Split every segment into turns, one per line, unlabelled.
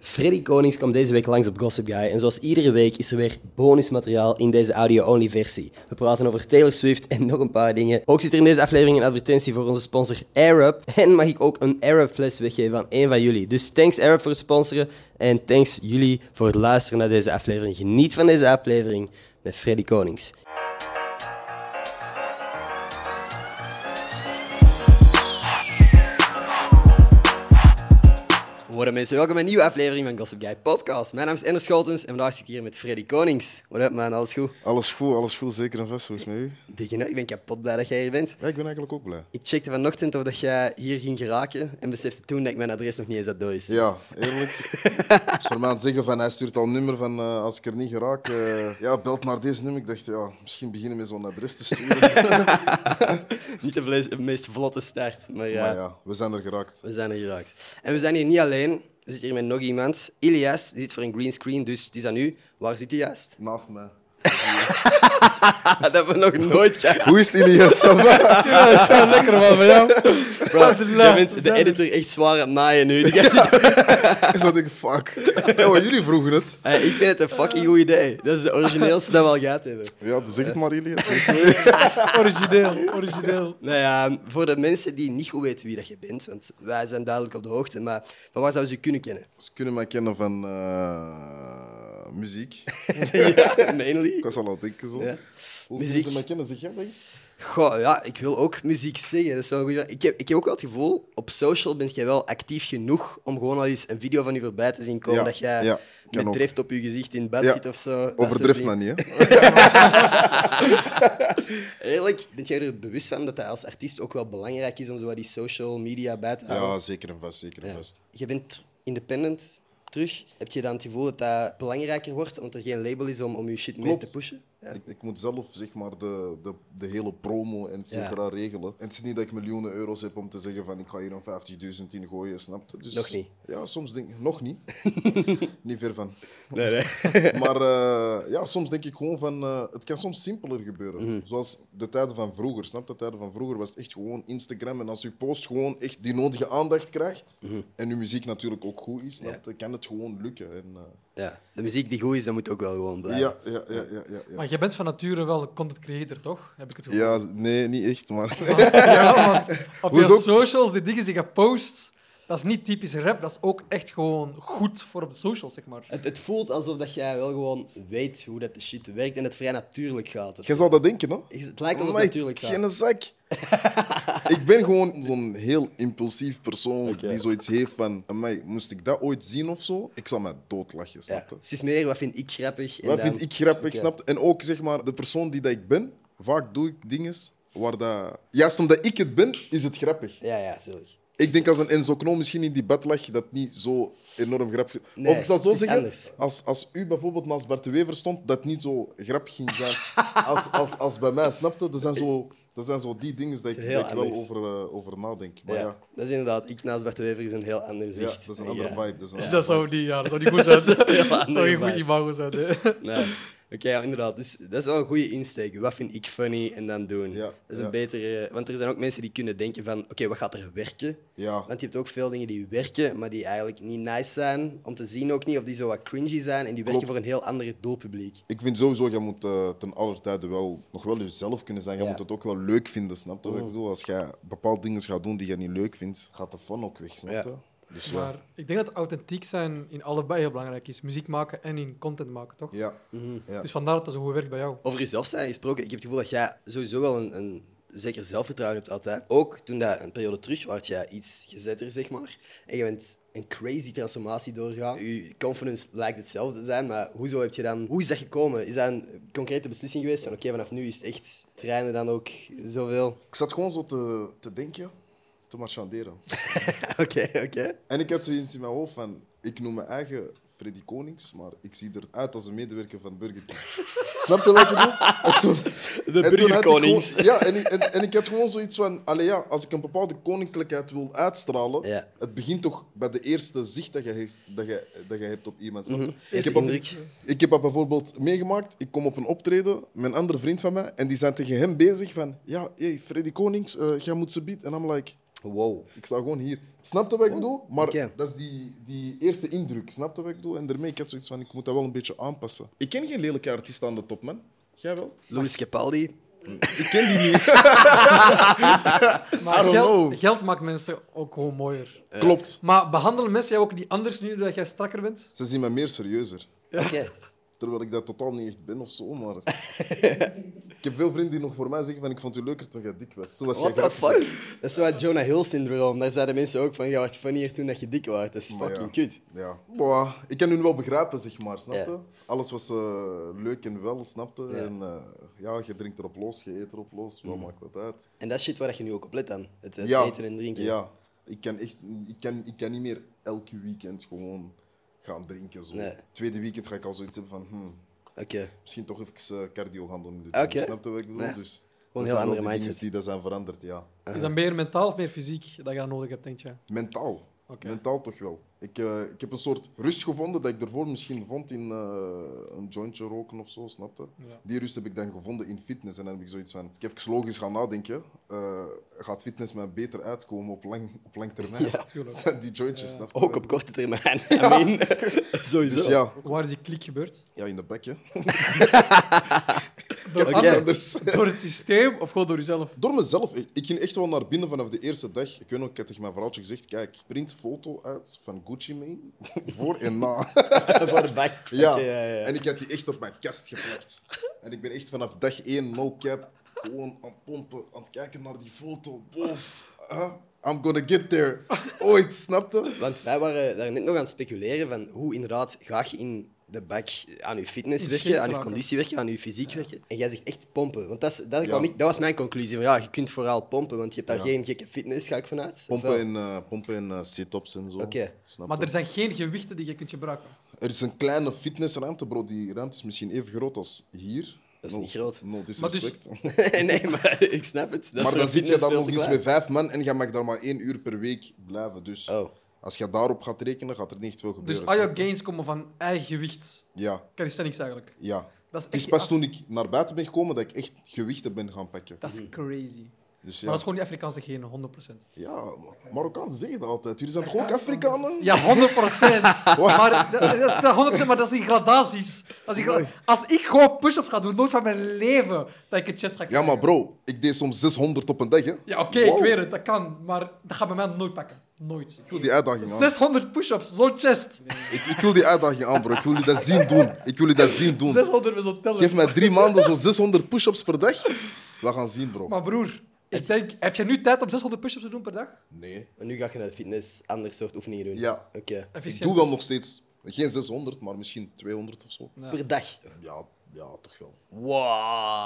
Freddy Konings kwam deze week langs op Gossip Guy en zoals iedere week is er weer bonusmateriaal in deze audio-only versie. We praten over Taylor Swift en nog een paar dingen. Ook zit er in deze aflevering een advertentie voor onze sponsor Arab en mag ik ook een Arab-fles weggeven aan één van jullie. Dus thanks Arab voor het sponsoren en thanks jullie voor het luisteren naar deze aflevering. Geniet van deze aflevering met Freddy Konings. What up mensen, welkom bij een nieuwe aflevering van Gossip Guy Podcast. Mijn naam is Ender Scholtens en vandaag zit ik hier met Freddy Konings. What up man, alles goed?
Alles goed, alles goed, zeker en vast volgens mij. u.
Dikke, hè? ik ben kapot blij dat jij hier bent.
Ja, ik ben eigenlijk ook blij.
Ik checkte vanochtend of dat jij hier ging geraken en besefte toen dat ik mijn adres nog niet eens had door is.
Ja, eerlijk. Als voor mij aan het zeggen van hij stuurt al een nummer van eh, als ik er niet geraak, eh, ja, belt naar deze nummer. Ik dacht, ja, misschien beginnen met zo'n adres te sturen.
Niet de vlees- de meest vlotte start, maar, ja,
Maar ja, we zijn er geraakt.
we zijn er geraakt. En we zijn hier niet alleen, we zitten hier met nog iemand. Ilias, die zit voor een greenscreen, dus die is aan u. Waar zit hij juist?
Naast mij.
Ah, dat hebben we nog nooit gehad.
Hoe is het, Ilias? Ça va?
Ja, lekker man, bij jou.
Bro, jij bent de editor echt zwaar aan het naaien nu. Die gast zit
Ik zat denk, fuck. Ja, maar jullie vroegen het.
Hey, ik vind het een fucking goed idee. Dat is de origineelste dat we al gehad hebben.
Ja, dus zeg het maar, Ilias.
Origineel, origineel.
Nou ja, voor de mensen die niet goed weten wie dat je bent, want wij zijn duidelijk op de hoogte, maar van waar zouden ze je kunnen kennen?
Ze kunnen mij kennen van eh, muziek.
ja,
Ik
mainly.
was al aan het denken zo.
Ja.
Hoe
Muziek.
kunnen ze mij kennen? Zeg jij dat eens?
Goh, ja, ik wil ook muziek zingen. Dat is wel een goeie- ik, heb, ik heb ook wel het gevoel, op social ben jij wel actief genoeg om gewoon al eens een video van je voorbij te zien komen
Ja,
dat jij
ja, kan
met
ook.
drift op je gezicht in bed
Ja,
zit of zo. Dat soort
Overdrift
dingen.
nou niet, hè?
Eerlijk, ben jij er bewust van dat dat als artiest ook wel belangrijk is om zo wat die social media bij te houden?
Ja, zeker en vast, zeker en vast.
Je bent independent terug. Heb je dan het gevoel dat dat belangrijker wordt, omdat er geen label is om, om je shit mee
Klopt.
te pushen? Ja.
Ik, ik moet zelf zeg maar, de, de, de hele promo en et cetera regelen. En het is niet dat ik miljoenen euro's heb om te zeggen van ik ga hier een 50.000 in gooien, snap je? Dus,
Nog niet.
Ja, soms denk ik, nog niet. niet ver van.
Nee, nee.
Maar eh, ja, soms denk ik gewoon van, eh, het kan soms simpeler gebeuren.
Mhm.
Zoals de tijden van vroeger, snap je? De tijden van vroeger was het echt gewoon Instagram. En als je post gewoon echt die nodige aandacht krijgt,
Mhm.
en je muziek natuurlijk ook goed is, snap je? Kan het gewoon lukken. En, eh,
Ja, de muziek die goed is, dat moet ook wel gewoon blijven.
ja, ja, ja, ja, ja, ja.
Maar jij bent van nature wel een content creator, toch? Heb ik het gevoel.
Ja, nee, niet echt, maar...
Ja, want op je
Hoezo?
socials, de dingen die je post, dat is niet typisch rap, dat is ook echt gewoon goed voor op de socials, zeg maar.
Het, het voelt alsof dat jij wel gewoon weet hoe dat de shit werkt en het vrij natuurlijk gaat. of
Jij
zo.
zou dat denken, hoor.
Het lijkt alsof
Maar
het natuurlijk gaat.
Geen zak. ik ben gewoon zo'n heel impulsief persoon
Oké.
die zoiets heeft van... Amai, moest ik dat ooit zien of zo? Ik zal mij doodlachen,
Ja.
snap je?
Het is meer, wat vind ik grappig? en
Wat
dan-
vind ik grappig,
Oké.
snap je? En ook, zeg maar, de persoon die dat ik ben... Vaak doe ik dingen waar dat... Juist omdat ik het ben, is het grappig.
Ja, ja, tuurlijk.
Ik denk als een Enzo Knol misschien in die bed lag, dat niet zo enorm grappig...
Nee,
of ik zou het zo
het is
zeggen,
anders.
als, als u bijvoorbeeld naast Bart de Wever stond, dat niet zo grappig ging zijn als, als, als bij mij, snapte? Dat zijn zo, dat zijn zo die dingen dat ik,
is heel
dat ik wel
anders.
over, eh, over nadenk. Maar
Ja,
ja,
Dat is inderdaad, ik naast Bart de Wever is een heel ander
ja,
zicht.
dat is een andere vibe. Dat is een
Dus
andere
dat zou niet, ja, dat zou niet goed zijn. dat zou
andere
geen goed
vibe.
imago zijn. hè.
Nee. Oké, ja, inderdaad. Dus dat is wel een goede insteek. Wat vind ik funny en dan doen.
Ja,
dat is
ja.
een betere. Want er zijn ook mensen die kunnen denken van oké, wat gaat er werken?
Ja.
Want je hebt ook veel dingen die werken, maar die eigenlijk niet nice zijn om te zien ook niet. Of die zo wat cringy zijn en die werken
Klopt.
voor een heel ander doelpubliek.
Ik vind sowieso, je moet eh, ten aller tijde wel nog wel jezelf kunnen zijn. Je
Ja. Mm.
moet het ook wel leuk vinden, snap je? Ik bedoel, als jij bepaalde dingen gaat doen die je niet leuk vindt, gaat de fun ook weg, snap je?
Ja.
Dus ja.
Maar ik denk dat authentiek zijn in allebei heel belangrijk is. Muziek maken en in content maken, toch?
Ja. ja.
Mm-hmm.
Dus vandaar dat dat zo goed werkt bij jou.
Over jezelf zijn gesproken, ik heb het gevoel dat jij sowieso wel een, een zeker zelfvertrouwen hebt altijd. Ook toen dat een periode terug was, jij iets gezetter, zeg maar. En je bent een crazy transformatie doorgaan. Je confidence lijkt hetzelfde te zijn, maar hoezo heb je dan... Hoe is dat gekomen? Is dat een concrete beslissing geweest? Van oké, vanaf nu is het echt trainen dan ook zoveel?
Ik zat gewoon zo te, te denken, te marchanderen.
Oké, oké.
En ik had zoiets in mijn hoofd van, ik noem mijn eigen Freddy Konings, maar ik zie eruit als een medewerker van Burger King. Snap je wat ik bedoel? En toen-
De
en toen had ik
burgerkonings.
gewoon- Ja, en ik, en, en ik had gewoon zoiets van, allee ja, als ik een bepaalde koninklijkheid wil uitstralen,
Ja.
het begint toch bij de eerste zicht dat je, heeft, dat je, dat je hebt op iemand. snap je? ik,
Mhm. Eerste
heb dat,
indruk.
ik heb dat bijvoorbeeld meegemaakt, ik kom op een optreden, mijn andere vriend van mij, en die zijn tegen hem bezig van, ja, hey, Freddy Konings, eh, jij moet ze bieden. En I'm like...
Wow.
Ik sta gewoon hier. Snap je wat ik bedoel? Maar
Oké.
dat is die, die eerste indruk. Snap je wat ik bedoel? En daarmee, ik had zoiets van, ik moet dat wel een beetje aanpassen. Ik ken geen lelijke artiest aan de top, man. Jij wel?
Louis Capaldi.
Ik ken die niet.
Maar
I don't
geld,
know.
geld maakt mensen ook gewoon mooier.
Eh.
Klopt.
Maar behandelen mensen jou ook niet anders nu dat jij strakker bent?
Ze zien me meer serieuzer.
Oké.
Terwijl ik dat totaal niet echt ben of zo, maar... ik heb veel vrienden die nog voor mij zeggen van, ik vond u leuker toen jij dik was. Toen was jij
What the
grappig.
fuck? Dat is zo het Jonah Hill syndroom. Daar zeiden mensen ook van, je was funnier toen dat je dik was. Dat is
Maar
fucking
ja.
kut.
Ja. Boah, ik kan hun wel begrijpen, zeg maar, snap
Ja.
je? Alles was eh, leuk en wel, snap je?
Ja. Mm.
En eh, ja, je drinkt erop los, je eet erop los, wat maakt dat uit?
En dat is shit waar je nu ook op let dan. Het, het
ja.
eten en drinken.
Ja. Ik kan, echt, ik, kan, ik kan niet meer elke weekend gewoon gaan drinken. Zo.
Nee.
Tweede weekend ga ik al zoiets hebben van... hmm,
Oké.
misschien toch even eh, cardio gaan doen. in de gym.
Oké.
Snap je wat ik bedoel?
Ja.
Dus,
heel
dat zijn wel
andere
die dingen
mindset.
die dat zijn veranderd, ja.
Is dat meer mentaal of meer fysiek dat je dat nodig hebt, denk je?
Mentaal.
Oké.
Mentaal toch wel. Ik, eh, ik heb een soort rust gevonden dat ik ervoor misschien vond in eh, een jointje roken of zo, snap je?
Ja.
Die rust heb ik dan gevonden in fitness. En dan heb ik zoiets van, als ik even logisch ga nadenken, eh, gaat fitness mij beter uitkomen op lang, op lang termijn?
tuurlijk.
Dan die jointjes, snap je?
Ook op korte termijn. I mean, sowieso.
Dus ja,
Waar is die klik gebeurd?
ja in de bekje.
Door,
Oké.
anderen,
Anders.
door het systeem of gewoon door jezelf?
Door mezelf. Ik, ik ging echt wel naar binnen vanaf de eerste dag. Ik weet nog, ik had tegen mijn vrouwtje gezegd, kijk, print foto uit van Gucci mee, voor en na.
Voor de bak.
Ja.
Oké, ja, ja.
en ik had die echt op mijn kast geplakt. En ik ben echt vanaf dag één, no cap, gewoon aan het pompen, aan het kijken naar die foto. Boos. Huh? I'm gonna get there. Ooit, snapte?
Want wij waren daar net nog aan het speculeren van hoe inderdaad ga je in de bak aan je fitness
In
werken,
shape
aan je
raken.
conditie werken, aan je fysiek werken. En jij zegt echt pompen. Want dat, is, dat, kwam
Ja.
ik- dat was mijn conclusie. Van, ja, je kunt vooral pompen, want je hebt daar
Ja.
geen gekke fitness, ga ik vanuit. Of wel?
Pompen en, eh, pompen en eh, sit-ups en zo.
Oké.
Snap
Maar
je?
er zijn geen gewichten die je kunt gebruiken.
Er is een kleine fitnessruimte, bro. Die ruimte is misschien even groot als hier.
Dat is niet groot.
No
Maar dus-
disrespect.
nee, maar ik snap het. Dat is
Oh. maar
voor
dan zit je
fitness
dan nog
veel
eens
te
met
klein.
vijf man en je mag daar maar één uur per week blijven. Dus
Oh.
als je daarop gaat rekenen, gaat er niet echt veel gebeuren.
Dus al jouw
snap je?
gains komen van eigen gewicht.
Ja,
Calisthenics eigenlijk.
ja.
Dat is
Het is
echt
pas toen ik naar buiten ben gekomen dat ik echt gewichten ben gaan pakken.
Dat is crazy.
Mhm. Dus
Maar dat
ja,
is gewoon die Afrikaanse genen, 100%.
ja Marokkanen zeggen dat altijd. Jullie zijn toch ook Afrikanen?
Ja, 100%. maar, dat, dat is dat 100%, maar dat is die gradaties. Als ik, als ik gewoon push-ups ga doen, nooit van mijn leven dat ik een chest ga
Ja,
krijgen.
maar bro, ik deed soms 600 op een dag. Hè.
Ja, oké,
Wow.
ik weet het, dat kan. Maar dat gaat bij mij nooit pakken. Nooit.
Ik wil die uitdaging aan.
600 push-ups, zo'n chest.
Ik, ik wil die uitdaging aan, bro. Ik wil jullie dat zien doen. Ik wil jullie dat zien doen.
600 is zo'n teller.
Geef mij drie maanden zo'n 600 push-ups per dag. We gaan zien, bro.
Maar broer, ik denk, heb jij nu tijd om 600 push-ups te doen per dag?
Nee.
En nu ga je naar de fitness ander soort oefeningen doen.
Ja.
Oké.
Ik
Efficiënt.
doe wel nog steeds geen 600, maar misschien 200 of zo.
Per dag.
Ja, ja toch wel.
Wow.
Maar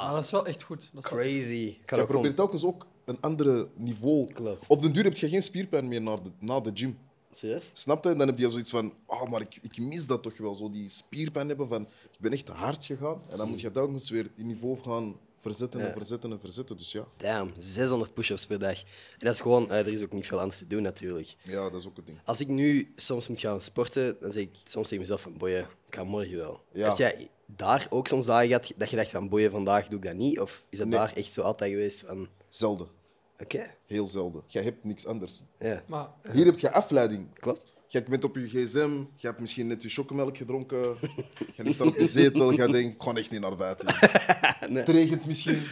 Ah, dat is wel echt goed. Dat is wel-
Crazy. Ik ga
Je
dat
probeert
gewoon...
telkens ook een ander niveau.
Klopt.
Op den duur heb je geen spierpijn meer na de, na de gym.
Serieus?
Snap je? En dan heb je al zoiets van, ah, maar ik, ik mis dat toch wel. Zo die spierpijn hebben van, ik ben echt hard gegaan. En dan moet je telkens weer die niveau gaan verzetten en verzetten en verzetten. Dus ja,
Damn, 600 push-ups per dag. En dat is gewoon... eh, er is ook niet veel anders te doen, natuurlijk.
ja dat is ook het ding.
Als ik nu soms moet gaan sporten, dan zeg ik soms tegen mezelf van boeien, ik ga morgen wel.
Ja.
Had jij daar ook soms dagen gehad dat je dacht van boeien, vandaag doe ik dat niet? Of is dat
Nee.
daar echt zo altijd geweest van,
Zelden.
oké,
Heel zelden. Jij hebt niks anders.
ja,
Maar
Hier heb je afleiding.
klopt.
Je bent op je gsm, je hebt misschien net je chocomelk gedronken. Je ligt dan op je zetel, je denkt, gewoon echt niet naar buiten. Het regent misschien.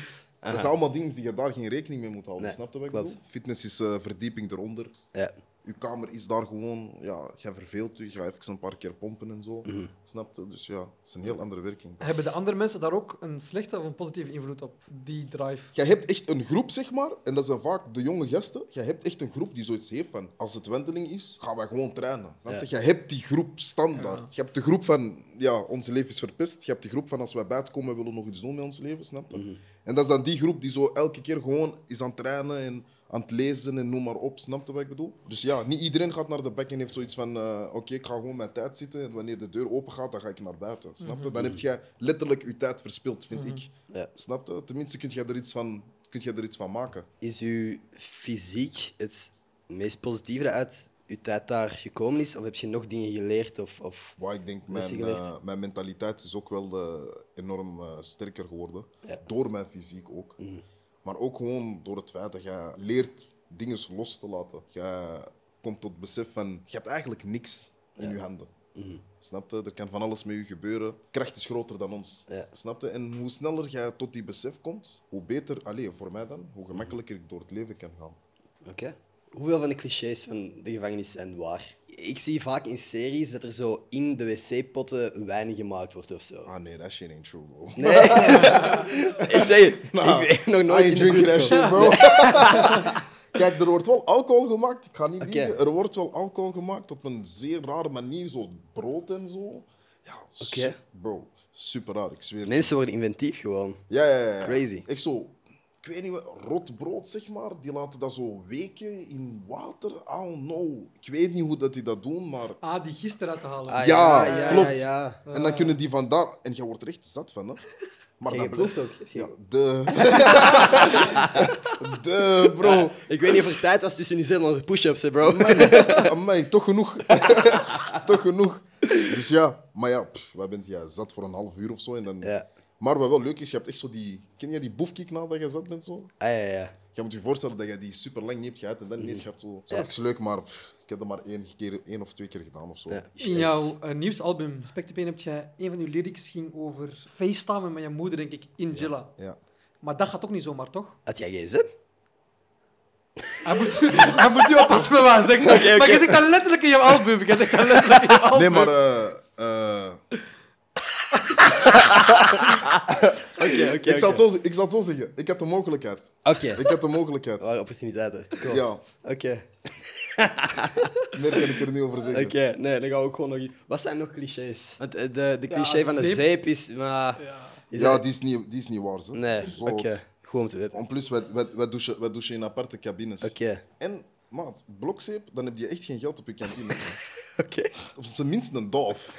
Dat zijn allemaal dingen die je daar geen rekening mee moet houden.
Nee,
Snap je wat ik
klopt.
bedoel? Fitness is eh, verdieping eronder.
Ja.
Je kamer is daar gewoon, ja, jij verveelt je, je gaat even een paar keer pompen en zo.
Mhm.
Snap je? Dus ja, het is een heel andere werking.
hebben de andere mensen daar ook een slechte of een positieve invloed op? Die drive.
Jij hebt echt een groep, zeg maar, en dat zijn vaak de jonge gasten. Jij hebt echt een groep die zoiets heeft van, als het wendeling is, gaan wij gewoon trainen. Snap je?
Ja.
Jij hebt die groep standaard. Je hebt de groep van, ja, ons leven is verpest. Je hebt de groep van, als wij buiten komen, willen we nog iets doen met ons leven, snap je? En dat is dan die groep die zo elke keer gewoon is aan het trainen en aan het lezen en noem maar op. Snap je wat ik bedoel? Dus ja, niet iedereen gaat naar de bek en heeft zoiets van, eh, oké, ik ga gewoon mijn tijd zitten en wanneer de deur open gaat, dan ga ik naar buiten. Snap je? Dan heb jij letterlijk je tijd verspild, vind ik.
ja.
Snap je? Tenminste, kun je er iets van, kun je er iets van maken.
Is uw fysiek het meest positieve dat uit uw tijd daar gekomen is? Of heb je nog dingen geleerd? Of, of...
Waar ik denk,
is
mijn,
geleerd.
eh, mijn mentaliteit is ook wel eh, enorm eh, sterker geworden.
Ja. Mhm.
Door mijn fysiek ook. Maar ook gewoon door het feit dat je leert dingen los te laten. Je komt tot besef van, je hebt eigenlijk niks in je handen.
Mhm.
Snap je? Er kan van alles met je gebeuren. Kracht is groter dan ons.
Ja.
Snap je? En hoe sneller jij tot die besef komt, hoe beter, allee, voor mij dan, hoe gemakkelijker ik door het leven kan gaan.
Oké. Hoeveel van de clichés van de gevangenis zijn waar? Ik zie vaak in series dat er zo in de wc-potten wijn gemaakt wordt of zo.
Ah nee, dat shit ain't true, bro.
Nee. ik zeg het.
Nah,
ik ben nog
Nou,
nooit
I
in
ain't
de buurt
drinking that
gekomen.
shit, bro. Kijk, er wordt wel alcohol gemaakt. Ik ga niet
Oké.
liegen. Er wordt wel alcohol gemaakt op een zeer rare manier. Zo brood en zo. Ja, su-
Oké.
bro. Super raar, ik zweer. het.
Mensen worden inventief gewoon.
Ja, ja, ja, ja.
Crazy.
Ik zo, ik weet niet wat, rot brood zeg maar, die laten dat zo weken in water. I don't know. Ik weet niet hoe dat die dat doen, maar.
Ah, die gisteren uit te halen.
Ah,
ja,
ja, ja,
klopt.
ja.
En dan kunnen die vandaar, en je wordt er echt zat van, hè? Maar
Ja,
dat
je proeft ook.
Ja, de. de, bro.
Ik weet niet of er tijd was tussen die 700 push-ups, hè, bro. Ah,
Amai, toch genoeg. toch genoeg. Dus ja, maar ja, pff, wij bent ja, zat voor een half uur of zo. En dan...
Ja.
Maar wat wel leuk is, je hebt echt zo die. Ken jij die boefkieknaal dat je zat bent zo?
Ah, ja, ja.
Je moet je voorstellen dat je die super lang niet hebt gehad en dan ineens je hebt zo. Zo even leuk, maar pff, ik heb dat maar één, keer, één of twee keer gedaan of zo.
Ja.
In jouw eh, nieuwsalbum, Spectre Pain, heb je een van je lyrics ging over facetamen met je moeder, denk ik, in Jilla.
Ja.
Maar dat gaat ook niet zomaar, toch?
Had jij gsm?
Hij moet, hij moet nu oppassen met wat hij zegt. Maar je zegt dat letterlijk in jouw album. Je zegt dat letterlijk in jouw
Oh,
album.
Nee, maar. eh, eh,
Oké, oké.
ik, zal het zo, z- ik zal het zo zeggen. Ik had de mogelijkheid.
Oké.
Ik had de mogelijkheid.
Waar opportuniteiten. Cool.
Ja,
Oké.
meer kan ik er niet over
Oké,
zeggen.
nee, dan gaan we ook gewoon nog... i- Wat zijn nog clichés? Want eh, de, de
Ja,
cliché van de
zeep.
zeep is... Maar...
Ja.
Is
ja,
dat-
die is niet, die is niet waar. Ze.
Nee,
Zo.
oké. Goed om te weten.
En plus, wij, wij, wij, douchen, wij douchen in aparte cabines.
Oké.
En, maat, blokzeep, dan heb je echt geen geld op je kantine.
Oké.
op zijn minst een doof.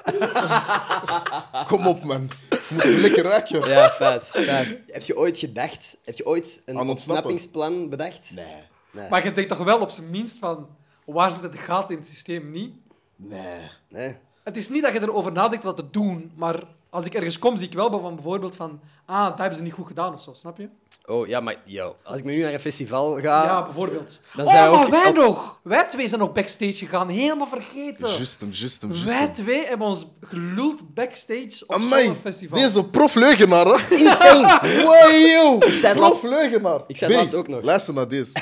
Kom op, man. Je moet het lekker ruiken.
Ja, feit. feit. Heb je ooit gedacht? Heb je ooit een
Aan ontsnappen.
ontsnappingsplan bedacht? Nee. Nee.
Maar je denkt toch wel op zijn minst van waar zit het gaten in het systeem niet?
Nee.
nee.
Het is niet dat je erover nadenkt wat te doen, maar als ik ergens kom, zie ik wel van bijvoorbeeld van ah, dat hebben ze niet goed gedaan of zo, snap je?
Oh, ja, maar yo. Als ik nu naar een festival
Ah.
ga...
ja, bijvoorbeeld.
dan
oh,
zijn we
maar
ook-
wij
op-
nog! Wij twee zijn nog backstage gegaan, helemaal vergeten.
Just hem, just hem, just
Wij
hem.
twee hebben ons geluld backstage op
Amai,
zo'n festival.
deze profleugenaar, hè? Insane! Wow, yo!
zei
Ik
het laatst-
Profleugenaar!
Ik zei het laatst ook nog.
Luister naar dit.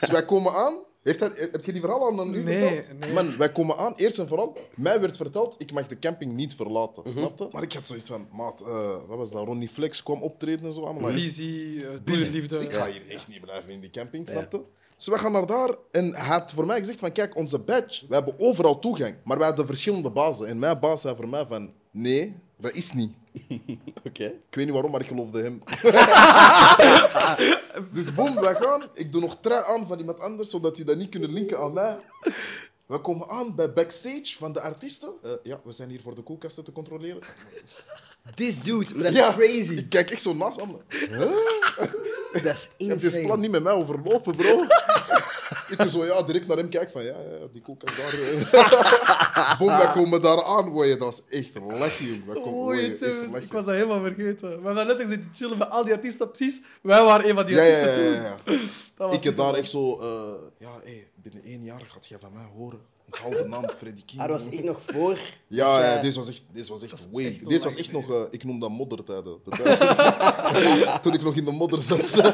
dus wij komen aan. Heeft hij, heb je die verhaal al aan u
Nee,
verteld?
nee.
Man, wij komen aan. Eerst en vooral, mij werd verteld, ik mag de camping niet verlaten.
Mhm.
Snap je? Maar ik had zoiets van, maat, eh, wat was dat? Ronnie Flex kwam optreden en zo. allemaal.
Mhm.
Lizzie, eh,
Busy.
Doe liefde.
Ik ga hier echt niet blijven in die camping, snap je? Dus we gaan naar daar en hij had voor mij gezegd van kijk, onze badge, we hebben overal toegang. Maar we hadden verschillende bazen. En mijn baas zei voor mij van nee, dat is niet.
Oké.
Ik weet niet waarom, maar ik geloofde hem. dus boem, wij gaan. Ik doe nog trui aan van iemand anders, zodat die dat niet kunnen linken aan mij. We komen aan bij backstage van de artiesten. Eh, ja, we zijn hier voor de koelkasten te controleren.
This dude, maar dat is
ja,
crazy.
Ik kijk echt zo naast me.
Dat is
Je hebt dit plan
insane.
niet met mij overlopen, bro. ik zo ja, direct naar hem kijk van ja, ja die koek is daar. eh. Boom, wij komen daar aan. Oei, dat was echt lachen, jong. Wij komen-
Oei,
oei,
het,
echt
eh,
lachen.
ik was dat helemaal vergeten. We hebben letterlijk zitten chillen met al die artiesten, precies. Wij waren een van die
Ja, ja,
artiesten
ja,
toen.
ja, ja.
Dat was
Ik heb
niet
daar
normaal.
echt zo, eh, ja, hey, binnen één jaar gaat jij van mij horen. Het halve naam Freddy King.
Ah, dat was echt nog voor...
Ja, ja,
Ja.
deze was echt, deze was echt way.
echt
deze was
lang
echt nog, eh, ik noem dat moddertijden. De tijd toen ik nog in de modder zat.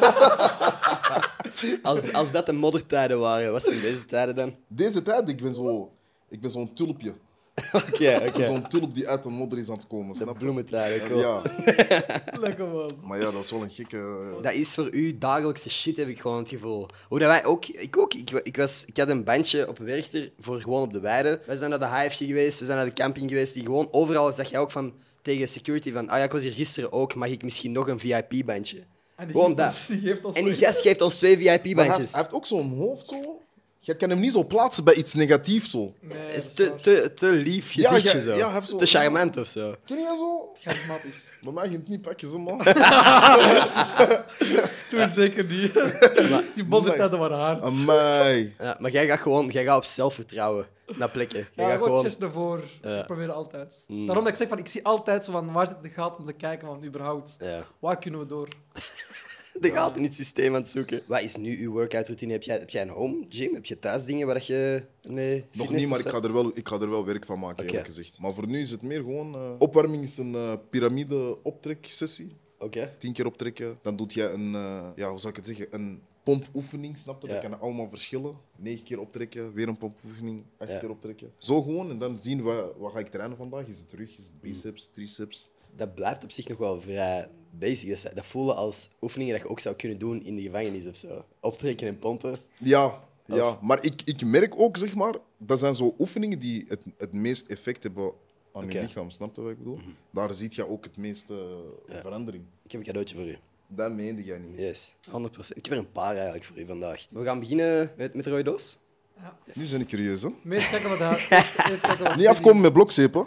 Als, als dat de moddertijden waren, wat zijn deze tijden dan?
Deze tijd, ik ben zo, ik ben zo'n tulpje.
Oké, oké.
Ik ben zo'n tulp die uit de modder is aan het komen,
De
snap je?
bloementijden, cool.
Ja,
Lekker man.
maar ja, dat is wel een gekke... eh.
Dat is voor u dagelijkse shit, heb ik gewoon het gevoel. Hoe dat wij ook, ik ook, ik, wa- ik, was, ik had een bandje op Werchter voor gewoon op de weide. Wij zijn naar de Hive geweest, we zijn naar de camping geweest, die gewoon overal zag jij ook van tegen security van, ah ja, ik was hier gisteren ook, mag ik misschien nog een VIP-bandje?
En Ah, die
Gewoon
geeft
dat.
ons- die geeft ons
en die
echt-
gast geeft ons twee
Maar hij, heeft,
VIP-bandjes.
hij heeft ook zo'n hoofd zo. Je kan hem niet zo plaatsen bij iets negatiefs zo.
Nee,
Het
dat
is
is
te,
waar.
te, te lief
Ja,
gezichtje
ja,
zo.
ja, hij heeft zo-
Te charmant of zo.
Ken je dat zo?
Charismatisch.
Bij mij ging het niet pakken, zo man.
Toen zeker niet. Die moddertijden waren
Oh,
hard.
Amai.
Ja, maar jij gaat gewoon jij gaat op zelfvertrouwen naar plekken. Jij
Ja,
gaat
gewoon
gewoon... Mm.
chest naar voren. Ik probeer altijd. Daarom dat ik zeg van, ik zie altijd zo van, waar zit de gat om te kijken van, überhaupt.
Ja.
Waar kunnen we door?
Dan gaat in het systeem aan het zoeken. Wat is nu uw workout routine? Heb jij, heb jij een home gym? Heb je thuis dingen waar dat je mee
Nog
fitness
niet, maar
of
ik
zo?
ga, er wel, ik ga er wel werk van maken,
Oké.
eerlijk gezegd. Maar voor nu is het meer gewoon... eh, opwarming is een eh piramide optreksessie.
Oké.
Tien keer optrekken. Dan doe je een... eh, ja, hoe zou ik het zeggen? Een pompoefening, snap je?
Ja.
Dat kan allemaal verschillen. Negen keer optrekken, weer een pompoefening. Acht
Ja.
keer optrekken. Zo gewoon. En dan zien we, wat ga ik trainen vandaag? Is het rug? Is het biceps? Triceps?
Dat blijft op zich nog wel vrij basic. Dat, zijn- dat voelen als oefeningen dat je ook zou kunnen doen in de gevangenis of zo. Optrekken en pompen.
Ja, ja. maar ik, ik merk ook, zeg maar, dat zijn zo oefeningen die het, het meest effect hebben aan
Oké.
je lichaam. Snap je wat ik bedoel? Daar zie je ook het meeste eh, verandering.
Ik heb een cadeautje voor u.
Dat meende jij niet.
Yes, 100%. Ik heb er een paar eigenlijk voor u vandaag. We gaan beginnen met, met de rode doos.
Nu ben ik curieus, hè?
Meest kijken wat daar. Meest kijken wat
Niet afkomen met blokzeep, hè?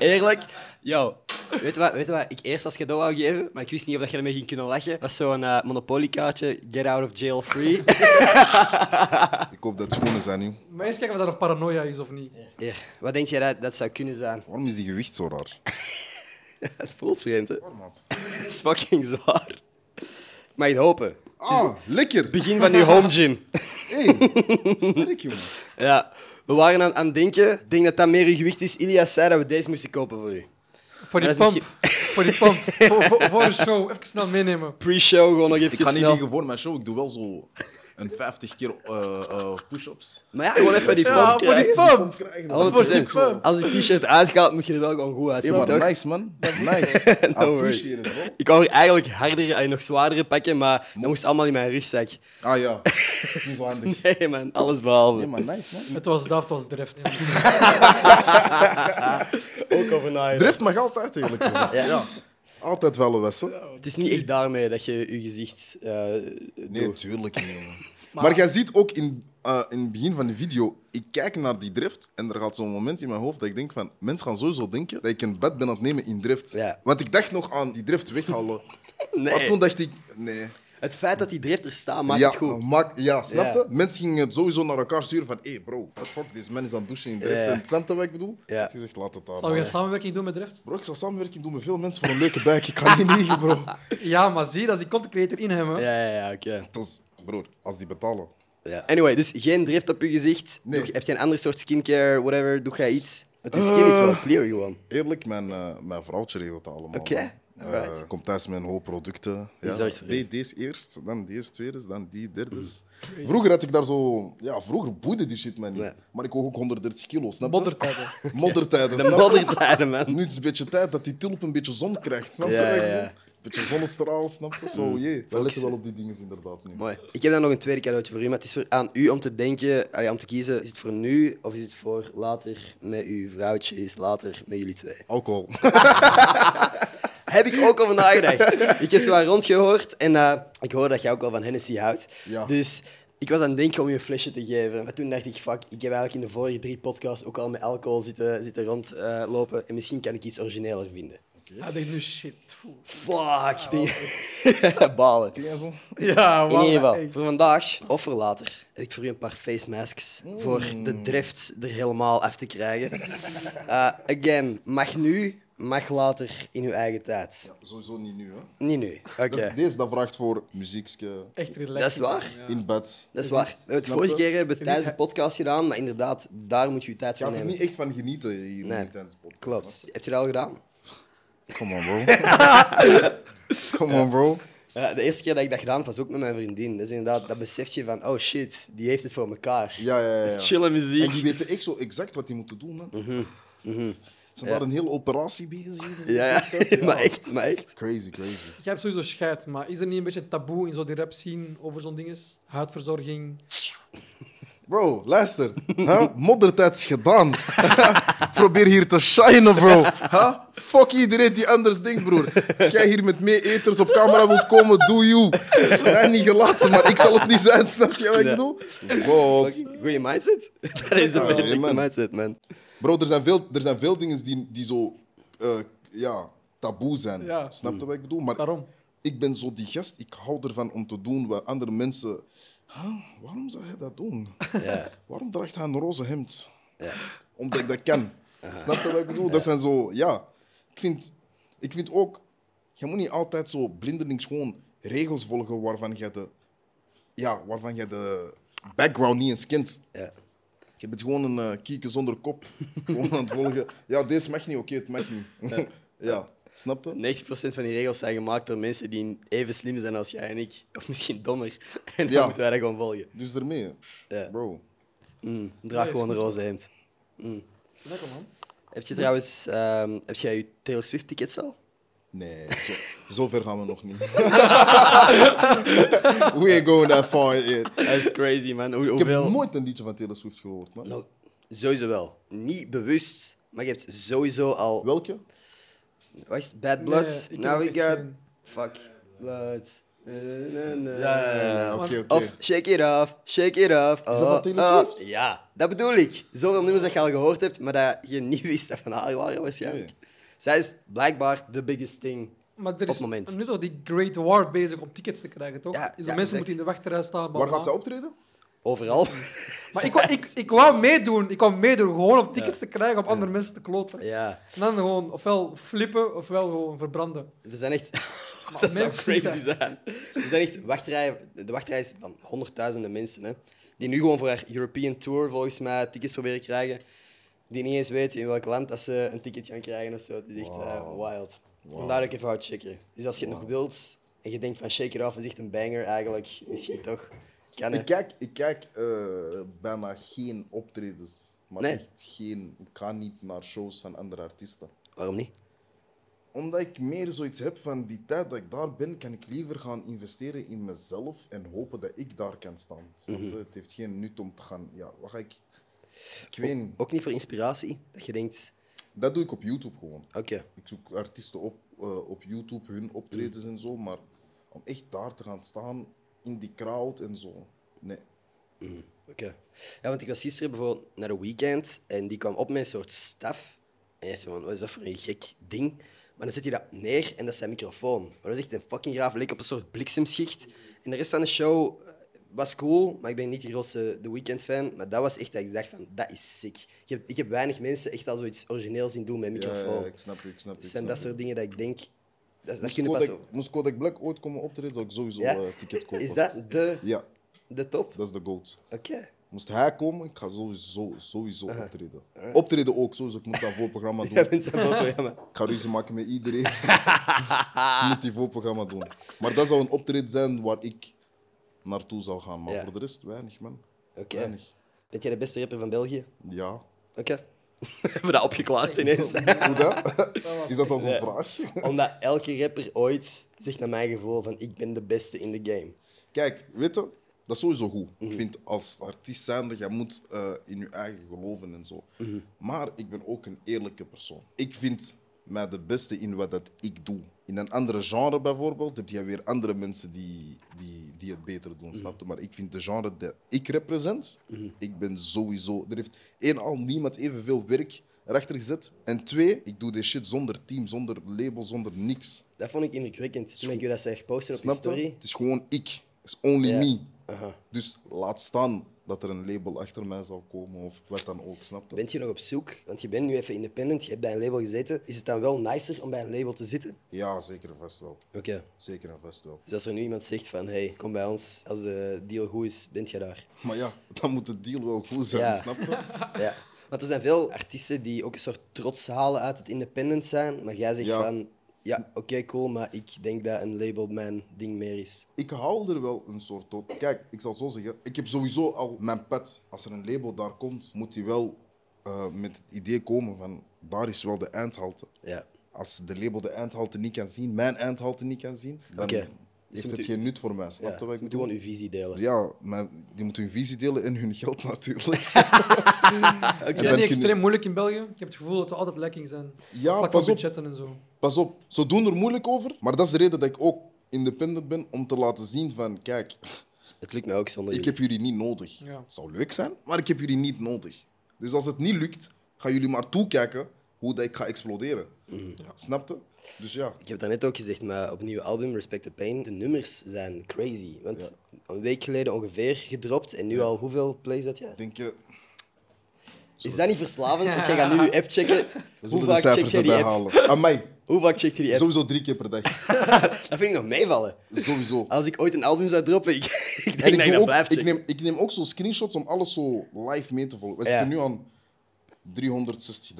Eerlijk, yo. Weet je, wat, weet je wat ik eerst als cadeau wou geven, maar ik wist niet of dat je ermee ging kunnen lachen? Dat was zo'n eh, Monopoly-kaartje, get out of jail free.
Ik hoop dat het schoenen zijn, joh.
Maar eens kijken of daar nog paranoia is of niet.
Hier, wat denk jij dat dat zou kunnen zijn?
Waarom is die gewicht zo raar?
Het voelt vreemd, hè? Het is fucking zwaar. Mag je het hopen?
Ah, lekker!
Begin van uw home gym.
Hey, sterk, jongen.
Ja, we waren aan, aan het denken. Ik denk dat dat meer uw gewicht is. Ilias zei dat we deze moesten kopen voor u.
Voor die
Maar dat
pomp.
is
Voor die pomp. voor, voor, voor de show. Even snel meenemen.
Pre-show gewoon nog even
Ik ga niet
snel.
liggen voor mijn show, ik doe wel zo een 50 keer eh, eh, push-ups.
Maar ja, gewoon even die
Ja,
pomp
voor die
krijgen.
pomp.
Hé,
Oh,
Voor die
100%.
pomp.
Als het t-shirt uitgaat, moet je er wel gewoon goed uitzien.
maar
toch?
nice, man. Nice. I
No worries.
appreciate it, bro.
Ik wou er eigenlijk hardere en nog zwaardere pakken, maar dat moest allemaal in mijn rugzak.
Ah ja, niet zo handig.
Nee man, alles behalve.
Nee, maar nice, man.
Het was dat, het was drift.
Ook over nadenken.
Drift mag altijd, eerlijk gezegd. ja. Altijd wel een wessen.
Het is niet echt daarmee dat je je gezicht eh,
Nee,
doet.
tuurlijk niet, jongen. Maar, jij ziet ook in, eh, in het begin van de video, ik kijk naar die drift en er gaat zo'n moment in mijn hoofd dat ik denk van, mensen gaan sowieso denken dat ik een bed ben aan het nemen in drift.
Ja.
Want ik dacht nog aan die drift weghalen.
Nee.
Maar toen dacht ik, nee.
Het feit dat die drift er staat, maakt
ja,
het goed.
Maak, ja, snap
Ja.
je? Mensen gingen het sowieso naar elkaar sturen van, hé hey bro, what the fuck, deze man is aan het douchen in drift.
Ja.
En snap je wat ik bedoel?
Ja.
Ik zeg, laat het daar.
Zou je
man.
een samenwerking doen met drift?
Bro, ik zal samenwerking doen met veel mensen voor een leuke buik. Ik kan niet liegen, bro.
Ja, maar zie, dat is die content creator in hem. Hè.
Ja, ja, ja, oké.
Dat is, broer, als die betalen.
Ja. Anyway, dus geen drift op je gezicht.
Nee.
Doe- heb je een ander soort skincare, whatever? Doe jij iets? Het is skin is wel clear gewoon.
Eerlijk, mijn, eh, mijn vrouwtje regelt dat allemaal.
Oké,
man. Eh,
alright.
komt thuis met een hoop producten.
Die
Ja.
zorgt voor je.
Die- deze eerst, dan deze tweede, dan die derde.
Mm.
Vroeger had ik daar zo... Ja, vroeger boeide die shit mij niet.
Nee.
Maar ik woog ook 130 kilo, snap je?
Moddertijden.
Moddertijden,
De
snap je?
moddertijden, man.
Nu is het een beetje tijd dat die tulp een beetje zon krijgt, snap je?
Ja,
wat ik
ja. Mm.
bedoel? Een beetje zonnestraal, snap je? Zo, jee. We letten
Focussen.
wel op die dingen inderdaad nu.
Mooi. Ik heb dan nog een tweede cadeautje voor u, maar het is voor, aan u om te denken, allee, om te kiezen, is het voor nu of is het voor later met uw vrouwtje, is later met jullie twee?
Alcohol.
Heb ik ook over nagedacht. ik heb zo wat rondgehoord en eh, ik hoor dat jij ook wel van Hennessy houdt.
Ja.
Dus ik was aan het denken om je een flesje te geven. Maar toen dacht ik, fuck, ik heb eigenlijk in de vorige drie podcasts ook al met alcohol zitten, zitten rondlopen. en misschien kan ik iets origineler vinden.
Hij denkt nu shit. foe.
Fuck, ding. Balen.
Ken jij zo?
Ja,
In
wauw.
ieder geval,
Hey.
voor vandaag of voor later heb ik voor u een paar face masks voor de drift er helemaal af te krijgen. Eh, again, mag nu, mag later in uw eigen tijd.
Sowieso niet nu, hè.
Niet nu. Oké.
Dat is- Deze dat vraagt voor muziekje,
Echt relaxed.
Dat is waar.
in bed.
Dat is waar. We hebben het
Snap
vorige
je?
keer hebben we tijdens de podcast gedaan, maar inderdaad, daar moet je je tijd
Je
voor
gaat er
nemen.
niet echt van genieten hier
Nee.
in tijdens de podcast.
Klopt. Heb je dat al gedaan?
Come on, bro. Come on, bro.
Ja, de eerste keer dat ik dat gedaan heb, was ook met mijn vriendin. Dus inderdaad, dat beseft je van, oh shit, die heeft het voor elkaar.
Ja, ja, ja. ja.
Chille muziek.
En die weten echt zo exact wat die moeten doen. Hè.
Mhm,
Ze waren een hele operatie bezig. hier.
Ja, ja. maar echt, maar echt.
Crazy, crazy.
Jij hebt sowieso scheid, maar is er niet een beetje taboe in zo die rap scene over zo'n dinges? Huidverzorging.
Bro, luister. Huh? Moddertijd is gedaan. Probeer hier te shinen, bro. Huh? Fuck iedereen die anders denkt, broer. Als jij hier met meer eters op camera wilt komen, do you. Mij niet gelaten, maar ik zal het niet zijn. Snap je wat ik
Ja.
bedoel? Zot.
Goeie mindset. dat is een
Ja,
perfecte
man.
mindset, man.
Bro, er zijn veel, er zijn veel dingen die, die zo eh, ja, taboe zijn.
Ja.
Snap je wat ik bedoel? Maar
Daarom.
ik ben zo die gast, ik hou ervan om te doen wat andere mensen. Huh? Waarom zou hij dat doen?
Ja.
Waarom draagt hij een roze hemd?
Ja.
Omdat ik dat kan. Snap je wat ik bedoel? Dat zijn zo, ja. Ik vind, ik vind ook, je moet niet altijd zo blindelings gewoon regels volgen waarvan jij de, ja, waarvan jij de background niet eens kent.
Ja.
Je bent gewoon een eh kieken zonder kop. gewoon aan het volgen. Ja, deze mag niet, oké, het mag niet. Ja, snap je?
90% van die regels zijn gemaakt door mensen die even slim zijn als jij en ik. Of misschien dommer. En dan
Ja.
moeten wij dat gewoon volgen.
Dus daarmee,
Ja.
bro.
Draag
is
gewoon een roze hemd.
Lekker, man.
Heb je trouwens... ehm, heb jij je Taylor Swift tickets al?
Nee, zo, zo ver gaan we nog niet. We ain't going that far yet.
Dat is crazy, man. Hoe,
Ik heb
hoeveel...
nooit een liedje van Taylor Swift gehoord, man.
Nou, sowieso wel. Niet bewust, maar je hebt sowieso al...
Welke?
Wat is het? Bad
Nee,
Blood?
ik heb
Now
echt
we got...
geen-
Fuck. Blood. Eh, na, na.
Ja, oké, oké.
Of Shake It Off, Shake It Off.
dat van
oh,
Taylor
oh.
Swift?
Ja, dat bedoel ik. Zoveel nummers dat je al gehoord hebt, maar dat je niet wist dat van haar waren waarschijnlijk. Zij is blijkbaar de biggest thing.
Maar er
het
is
moment.
nu toch die Great War bezig om tickets te krijgen, toch?
Ja,
dus de
ja,
mensen
exact.
moeten in de wachtrij staan. bla,
Waar
bla.
gaat ze optreden?
Overal.
Maar ik, wou- ik, ik wou meedoen. Ik wou meedoen gewoon om tickets te krijgen om andere mensen te kloten.
Ja,
En dan gewoon ofwel flippen ofwel gewoon verbranden.
er zijn echt... dat zou
mensen
crazy
zijn-
zijn. Er zijn echt wachtrijen... De wachtrij is van honderdduizenden mensen, hè. Die nu gewoon voor haar European Tour, volgens mij, tickets proberen te krijgen. Die niet eens weten in welk land dat ze een ticket gaan krijgen of zo. Het is echt eh, wild. Vandaar dat ik even wou checken. Dus als je het nog wilt en je denkt van shake it off is echt een banger eigenlijk, misschien toch. Kan
Ik
ik
kijk, ik kijk eh, bijna geen optredens. Maar
Nee.
echt geen. Ik ga niet naar shows van andere artiesten.
Waarom niet?
Omdat ik meer zoiets heb van die tijd dat ik daar ben, kan ik liever gaan investeren in mezelf en hopen dat ik daar kan staan. Snap
Mhm.
je? Het heeft geen nut om te gaan. Ja, wat ga ik. Ik weet niet.
Ook niet voor inspiratie, dat je denkt,
Dat doe ik op YouTube gewoon.
oké,
Ik zoek artiesten op eh, op YouTube, hun optredens en zo. Maar om echt daar te gaan staan in die crowd en zo. Nee.
Oké. Ja, want ik was gisteren bijvoorbeeld naar de weekend en die kwam op met een soort staf. En je zei van, wat is dat voor een gek ding? Maar dan zet hij dat neer en dat is zijn microfoon. Maar dat is echt een fucking graaf leek op een soort bliksemschicht. En de rest van de show eh, was cool, maar ik ben niet de grootste The Weeknd fan. Maar dat was echt dat ik dacht van, dat is sick. Ik heb, ik heb weinig mensen echt al zoiets origineels zien doen met een
Ja, ja,
microfoon.
Eh, ik snap je, ik snap je.
Het
ik
zijn
snap
dat
je.
soort dingen dat ik denk, dat, dat
Moest
kunnen pas...
Kodak- Moest Kodak Black ooit komen optreden, zou ik sowieso
Ja.
eh ticket kopen.
Is dat de,
Ja,
de top?
dat is de goat.
Oké.
Moest hij komen, ik ga sowieso, sowieso optreden. Optreden ook, sowieso. Ik moet dat voorprogramma doen.
Uh-huh. Ja, mensen, ja, maar-
Ik ga ruzie maken met iedereen. ik moet die voorprogramma doen. Maar dat zou een optreden zijn waar ik naartoe zou gaan. Maar
Ja.
voor de rest, weinig man.
Oké.
Weinig.
Ben jij de beste rapper van België?
Ja.
Oké. We hebben dat opgeklaard ineens.
Hoe dat? Is dat zelfs een vraag?
Omdat elke rapper ooit zegt naar mijn gevoel van ik ben de beste in de game.
Kijk, weet je, dat is sowieso goed. Ik vind als artiest zijnde, jij moet eh, in je eigen geloven en zo. Maar ik ben ook een eerlijke persoon. Ik vind mij de beste in wat dat ik doe. In een andere genre bijvoorbeeld heb je weer andere mensen die, die, die het beter doen, snap je? Maar ik vind de genre dat ik represent, ik ben sowieso... Er heeft één al niemand evenveel werk erachter gezet. En twee, ik doe dit shit zonder team, zonder label, zonder niks.
Dat vond ik indrukwekkend toen ik je dat zei geposten op je
Snap je?
story.
Het is gewoon ik. Het is only
Ja.
me.
Aha.
Dus laat staan dat er een label achter mij zal komen of wat dan ook, snap je?
Bent je nog op zoek? Want je bent nu even independent, je hebt bij een label gezeten. Is het dan wel nicer om bij een label te zitten?
Ja, zeker en vast wel.
Oké.
Zeker en vast wel.
Dus als er nu iemand zegt van hey, kom bij ons, als de deal goed is, bent je daar.
Maar ja, dan moet de deal wel goed zijn,
Ja.
snap je?
Ja. Want er zijn veel artiesten die ook een soort trots halen uit het independent zijn. Maar jij zegt
Ja.
van ja, oké, cool, maar ik denk dat een label mijn ding meer is.
Ik hou er wel een soort tot. Kijk, ik zal het zo zeggen. Ik heb sowieso al mijn pet. Als er een label daar komt, moet die wel eh, met het idee komen van daar is wel de eindhalte.
Ja.
Als de label de eindhalte niet kan zien, mijn eindhalte niet kan zien, dan
Oké. Dus
heeft
moet
het
u-
geen nut voor mij, snap
Ja,
je
ze
wat ik
moeten
bedoel?
gewoon uw visie delen.
Ja, maar die moeten hun visie delen en hun geld natuurlijk.
Is dat
dan
niet
kun je-
extreem moeilijk in België? Ik heb het gevoel dat we altijd lekking zijn.
Ja, pas
Vlak van
op.
budgetten en zo.
Pas op, ze doen er moeilijk over, maar dat is de reden dat ik ook independent ben om te laten zien van, kijk,
Het lukt mij ook zonder
ik
jullie.
heb jullie niet nodig.
Ja.
Het zou leuk zijn, maar ik heb jullie niet nodig. Dus als het niet lukt, gaan jullie maar toekijken hoe dat ik ga exploderen.
Mm.
Snap je? Dus ja,
Ik heb het daarnet ook gezegd, maar op het nieuwe album Respect the Pain, de nummers zijn crazy. Want een week geleden ongeveer gedropt en nu al hoeveel plays dat jij?
denk eh, je,
Is dat niet verslavend? Want jij gaat nu je app checken.
we
Hoe
zullen de
vaak check
cijfers
jij die
erbij
app?
halen. Amai,
Hoe vaak checkt je die app?
Sowieso drie keer per dag.
Dat vind ik nog meevallen.
Sowieso.
Als ik ooit een album zou droppen, ik, ik denk
En
dat
ik,
ik
doe
dat
ook,
blijf
ik,
checken.
neem, ik neem ook zo screenshots om alles zo live mee te volgen. We
Ja.
zitten nu aan 360.000.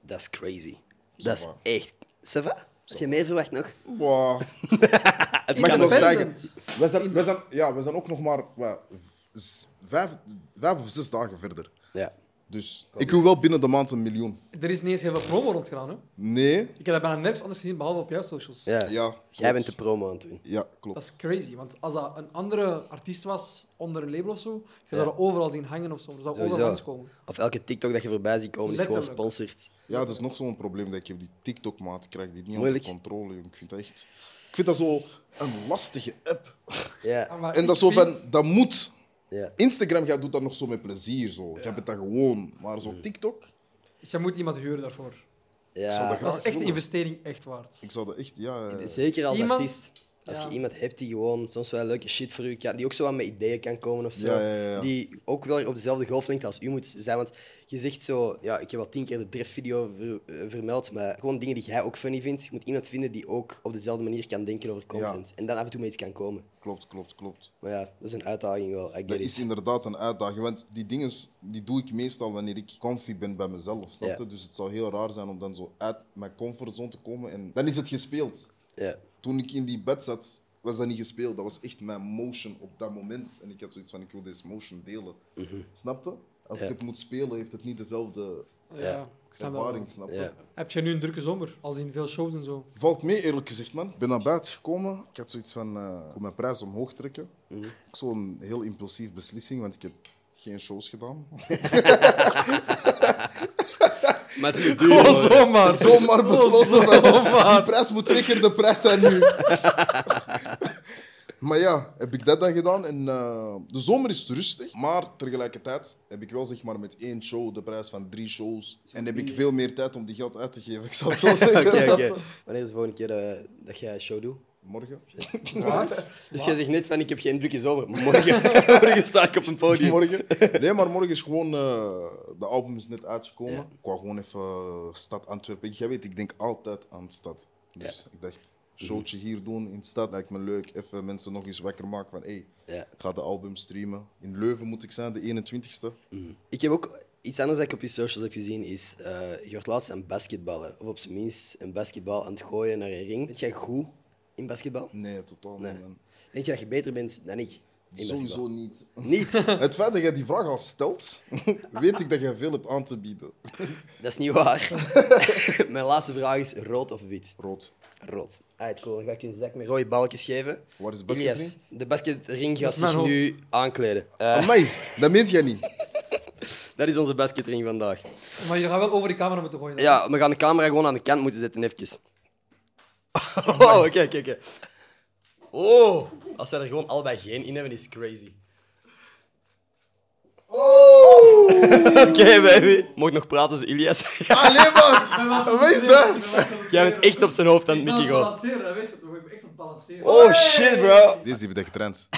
Dat is crazy. Dat is
va.
echt... Ça va? Had je meer verwacht nog?
Wow.
Het
Mag je
kan ook
nog
zijn.
stijgen?
Independent.
We zijn, we, zijn, ja, we zijn ook nog maar wat, z- vijf, vijf of zes dagen verder.
Ja.
Dus ik wil wel binnen de maand een miljoen.
Er is niet eens heel veel promo rondgegaan. Hè?
Nee.
Ik heb dat bijna nergens anders gezien, behalve op jouw socials.
ja.
Ja,
Jij
klopt.
bent de promo aan het doen.
Ja, klopt.
Dat is crazy, want als dat een andere artiest was onder een label of zo, je zou
Ja.
dat overal zien hangen of zo. Er zou overal
Sowieso.
langskomen.
Of elke TikTok dat je voorbij ziet komen is gewoon
Letterlijk.
sponsored.
Ja, dat is nog zo'n probleem dat ik heb. Die TikTok-maat ik krijg die niet
Moeilijk.
onder controle. jong. Ik vind dat echt... Ik vind dat zo een lastige app.
Ja.
Maar
En
ik
dat is zo van...
vind-
Dat moet.
ja.
Instagram, jij doet dat nog zo met plezier. Zo. Jij bent dat gewoon. Maar
Mm.
zo TikTok...
Je moet iemand huren daarvoor.
zou dat
ja.
graag-
Dat is echt de
doen.
investering echt waard.
Ik zou dat echt... Ja, eh,
Zeker als
Iemand-
artiest. Als
Ja.
je iemand hebt die gewoon soms wel leuke shit voor u kan, die ook zo aan met ideeën kan komen of zo.
Ja, ja, ja, ja.
Die ook wel op dezelfde golflengte als u moet zijn. Want je zegt zo, ja, ik heb al tien keer de driftvideo ver- eh, vermeld, maar gewoon dingen die jij ook funny vindt. Je moet iemand vinden die ook op dezelfde manier kan denken over content. En dan af en toe met iets kan komen.
klopt, klopt, klopt.
Maar ja, dat is een uitdaging wel. I get
Dat
it.
is inderdaad een uitdaging, want die dingen die doe ik meestal wanneer ik comfy ben bij mezelf, snap je?
Ja.
Dus het zou heel raar zijn om dan zo uit mijn comfortzone te komen en dan is het gespeeld.
Ja.
Toen ik in die bed zat, was dat niet gespeeld. Dat was echt mijn motion op dat moment. En ik had zoiets van, ik wil deze motion delen. Snap je? Als
Mhm. Ja.
ik het moet spelen, heeft het niet dezelfde
Ja,
Ja.
ik snap dat
ervaring,
wel.
snap je?
Ja.
Heb je nu een drukke zomer? Als in veel shows en zo.
Valt mee, eerlijk gezegd, man. Ik ben naar buiten gekomen. Ik had zoiets van, eh, ik wil mijn prijs omhoog trekken. Ook Zo'n heel impulsief beslissing, want ik heb geen shows gedaan.
Maar het duurt
Gewoon zomaar.
Oh,
Zomaar besloten van, die
Zomaar.
prijs moet twee keer de prijs zijn nu. maar ja, heb ik dat dan gedaan. En, eh, de zomer is rustig, maar tegelijkertijd heb ik wel zeg maar, met één show de prijs van drie shows. En heb ik veel meer tijd om die geld uit te geven. Ik zal het zo zeggen.
Oké,
snap
oké.
je?
Wanneer is de volgende keer dat, dat jij een show doet?
Morgen?
Wat?
Dus jij zegt net van ik heb geen drukke zomer. Morgen, morgen sta ik op een podium.
morgen. Nee, maar morgen is gewoon... eh, de album is net uitgekomen. Ik wou gewoon even eh, stad Antwerpen. Jij weet, ik denk altijd aan de stad. Dus ik dacht,
Mhm.
showtje hier doen in de stad lijkt me leuk. Even mensen nog eens wakker maken van... Hey,
Ja.
ik ga de album streamen. In Leuven moet ik zijn, de 21ste.
Mhm. Ik heb ook iets anders dat ik op je socials heb gezien, is eh, je wordt laatst aan basketballen. Of op zijn minst een basketbal aan het gooien naar een ring. Ben jij goed in basketbal?
Nee, totaal
Nee.
niet, man.
Denk je dat je beter bent dan ik? In
Sowieso niet.
basketbal? Niet.
Het feit dat jij die vraag al stelt, weet ik dat jij veel hebt aan te bieden.
Dat is niet waar. Mijn laatste vraag is rood of wit?
Rood.
Rood. Alright, cool. Dan ga ik je een zak met rode balkjes geven.
Waar is de basketring?
Yes. De basketring gaat
is mijn
zich
hoofd.
nu aankleden. Eh,
Amai, dat meent jij niet.
dat is onze basketring vandaag.
Maar je gaat wel over de camera moeten gooien. dan.
Ja, we gaan de camera gewoon aan de kant moeten zetten, even. Oh, kijk, kijk, kijk. Oh, als wij er gewoon allebei geen in hebben, is crazy. Oh! Oké, baby. Mocht nog praten, ze Ilias.
Allee, wat?
Ik ben wel-
Wat is dat?
Ik ben wel- ik
Jij bent echt op zijn hoofd aan het
ben aan
mikken
het
gewoon.
balanceren, dat weet je toch? Ik ben echt aan het balanceren.
Oh, shit, bro.
Deze heb ik getraind.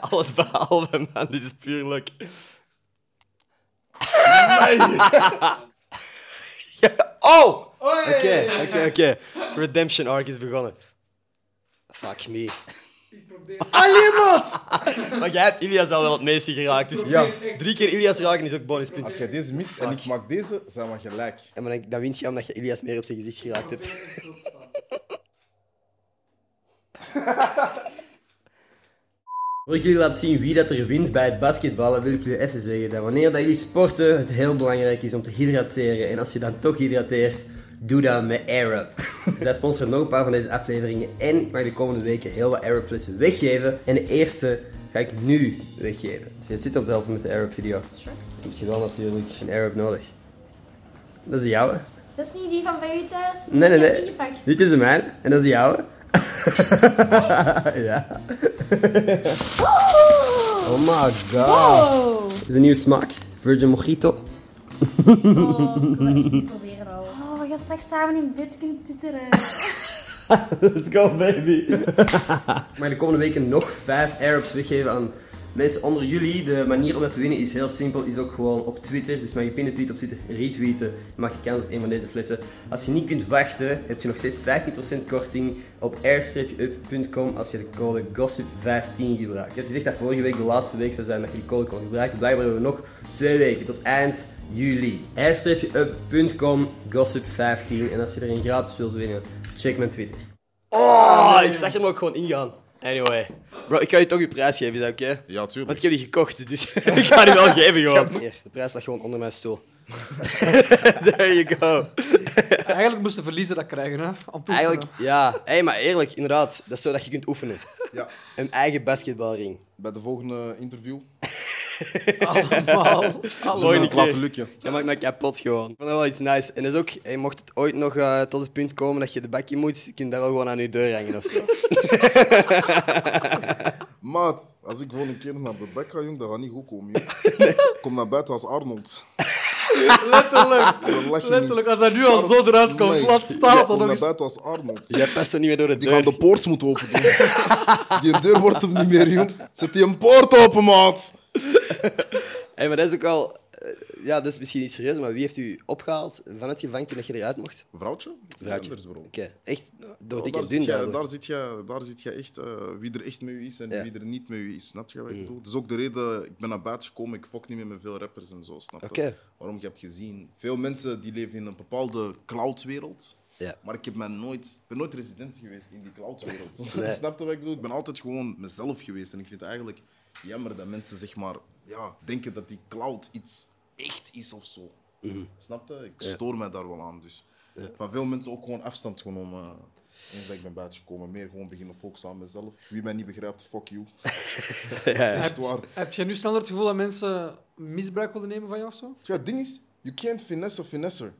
Alles behalve, man. Dit is puur luck. Ja, Oh!
Oei.
Oké, oké, oké. Redemption arc is begonnen. Fuck me.
Ik probeer
Ah,
Allee, wat?
Maar jij hebt Ilias al wel het meeste geraakt. Dus
Ja.
drie keer Ilias raken is ook bonuspunt.
Als jij deze mist en ik maak deze, zijn we gelijk.
En dan, dan wint je omdat je Ilias meer op zijn gezicht geraakt
probeer
hebt.
het zo te staan.
Wil ik jullie laten zien wie dat er wint bij het basketballen, wil ik jullie even zeggen dat wanneer dat jullie sporten, het heel belangrijk is om te hydrateren. En als je dan toch hydrateert, doe dat met Arab. Wij sponsoren nog een paar van deze afleveringen en ik mag de komende weken heel wat Arab flessen weggeven. En de eerste ga ik nu weggeven. Dus je zit op te helpen met de Arab video. Heb je wel natuurlijk een Arab nodig. Dat is de jouwe.
Dat is niet die van bij u thuis.
Nee, nee,
Ik heb
nee.
die gepakt.
Dit is de mijne en dat is de jouwe. ja.
Oh,
Oh my god.
wow.
Dit is een nieuwe smaak. Virgin Mojito.
Oh, ik wil dat echt proberen al. Oh, we gaan straks samen in bed kunnen toeteren.
Let's go, baby. maar de komende weken nog vijf Arabs weggeven aan Mensen onder jullie, de manier om dat te winnen is heel simpel. Is ook gewoon op Twitter. Dus mag je pinnen tweet op Twitter, retweeten. Dan mag je kans op een van deze flessen. Als je niet kunt wachten, heb je nog steeds 15% korting op airstripup.com als je de code GOSSIP15 gebruikt. Ik heb gezegd dat vorige week de laatste week zou zijn dat je die code kon gebruiken. Blijkbaar hebben we nog twee weken tot eind juli. airstripup.com GOSSIP15. En als je er een gratis wilt winnen, check mijn Twitter. Oh, ik zag hem ook gewoon ingaan. Anyway. Bro, ik ga je toch je prijs geven, is dat oké?
Ja, tuurlijk.
Want ik heb die gekocht, dus ik ga die wel geven gewoon. Hier, de prijs lag gewoon onder mijn stoel. There you go.
Eigenlijk moesten verliezen dat krijgen, hè? Om toe te
Eigenlijk,
kunnen.
ja. hey, maar eerlijk, inderdaad. Dat is zo dat je kunt oefenen.
Ja,
Een eigen basketbalring.
bij de volgende interview.
Allemaal.
Zo
Allemaal.
in
Zullen
die
we het laten
keer.
lukken.
Je maakt me kapot gewoon. Ik vond dat wel iets nice. En dat is ook, hey, mocht het ooit nog eh, tot het punt komen dat je de bak in moet, kun je daar wel gewoon aan je deur hangen of zo.
Maat, als ik gewoon een keer naar de bek ga, jong, dat gaat niet goed komen. Jong. Kom naar buiten als Arnold.
Letterlijk.
Dan lach je
Letterlijk,
niet.
als hij nu al zo eruit komt,
Nee.
laat staan.
Kom
dan nog
naar
eens.
buiten als Arnold.
Jij past er niet meer door de
Die gaan
deur.
de poort moeten open doen. Die deur wordt hem niet meer, jong. Zet die een poort open, maat.
Hey, maar dat is ook wel... eh, ja, dat is misschien niet serieus, maar wie heeft u opgehaald van het gevangen toen dat je eruit mocht?
Vrouwtje?
Vrouwtje.
Ja, dat is bro.
Oké, echt door
Oh,
dikke
daar,
dun
zit jij,
daardoor.
daar, zit jij, daar zit jij echt eh, wie er echt mee is en
Ja. Mm.
wie er niet mee is. Snap je wat ik bedoel? Dat is ook de reden, ik ben naar buiten gekomen, ik fok niet meer met veel rappers en zo. Snap je?
Oké.
Waarom je hebt gezien, veel mensen die leven in een bepaalde cloudwereld.
Ja.
Maar ik heb mij nooit, ik ben nooit resident geweest in die cloudwereld. Snap je wat ik bedoel? Ik ben altijd gewoon mezelf geweest. En ik vind het eigenlijk jammer dat mensen zeg maar, ja, denken dat die cloud iets echt is of zo. Snap je? Ik stoor mij daar wel aan. Dus van veel mensen ook gewoon afstand genomen. eh, Eens dat ik ben buitengekomen, meer gewoon beginnen focussen aan mezelf. Wie mij niet begrijpt, fuck you. Echt waar.
Heb jij nu sneller het gevoel dat mensen misbruik willen nemen van jou of zo?
Ja, het ding is, you can't finesse a finesser.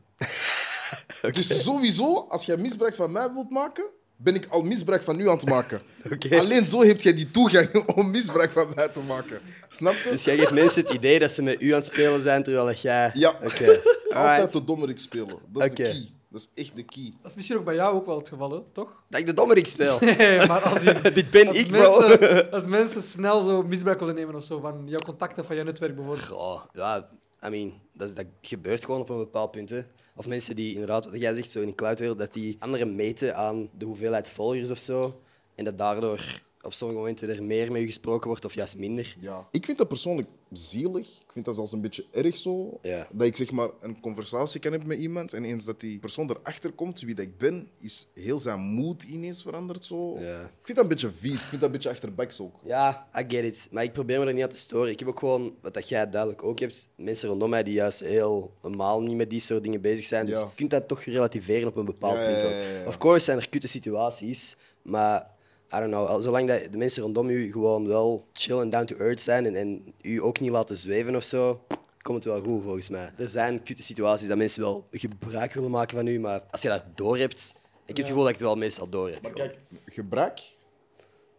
Dus sowieso, als jij misbruik van mij wilt maken, ben ik al misbruik van u aan het maken.
Oké.
Alleen zo heb jij die toegang om misbruik van mij te maken. Snap je?
Dus jij geeft mensen het idee dat ze met u aan het spelen zijn, terwijl dat jij...
Ja.
Oké.
Altijd
Alright.
de dommerik spelen. Dat is
Oké.
de key. Dat is echt de key.
Dat is misschien ook bij jou ook wel het geval, hè? toch?
Dat ik de dommerik speel.
Nee, maar als je...
Dit ben
Dat,
ik, bro.
mensen, dat mensen snel zo misbruik willen nemen of zo van jouw contacten, van jouw netwerk bijvoorbeeld.
Goh, Oh, ja, I mean, dat, is- dat gebeurt gewoon op een bepaald punt. Hè. Of mensen die inderdaad, wat jij zegt, zo in de cloudwereld, dat die anderen meten aan de hoeveelheid volgers of zo. En dat daardoor op sommige momenten er meer mee gesproken wordt of juist minder.
Ja. Ik vind dat persoonlijk zielig. Ik vind dat zelfs een beetje erg zo.
Ja.
Dat ik zeg maar een conversatie kan hebben met iemand. En eens dat die persoon erachter komt wie dat ik ben, is heel zijn moed ineens veranderd. Zo.
Ja.
Ik vind dat een beetje vies. Ik vind dat een beetje achterbaks ook.
Ja, I get it. Maar ik probeer me er niet aan te storen. Ik heb ook gewoon, wat dat jij duidelijk ook hebt, mensen rondom mij die juist heel normaal niet met die soort dingen bezig zijn. Dus
Ja.
ik vind dat toch relativeren op een bepaald
Ja,
punt.
ja,
ook.
ja, ja.
Of course zijn er kutte situaties, maar I don't know. al- Zolang dat de mensen rondom u gewoon wel chill en down to earth zijn en, en u ook niet laten zweven of zo. Komt het wel goed volgens mij. Er zijn kutte situaties dat mensen wel gebruik willen maken van u, maar als je dat door hebt, ik heb het gevoel dat ik het wel meestal door heb.
Maar
gewoon.
kijk, gebruik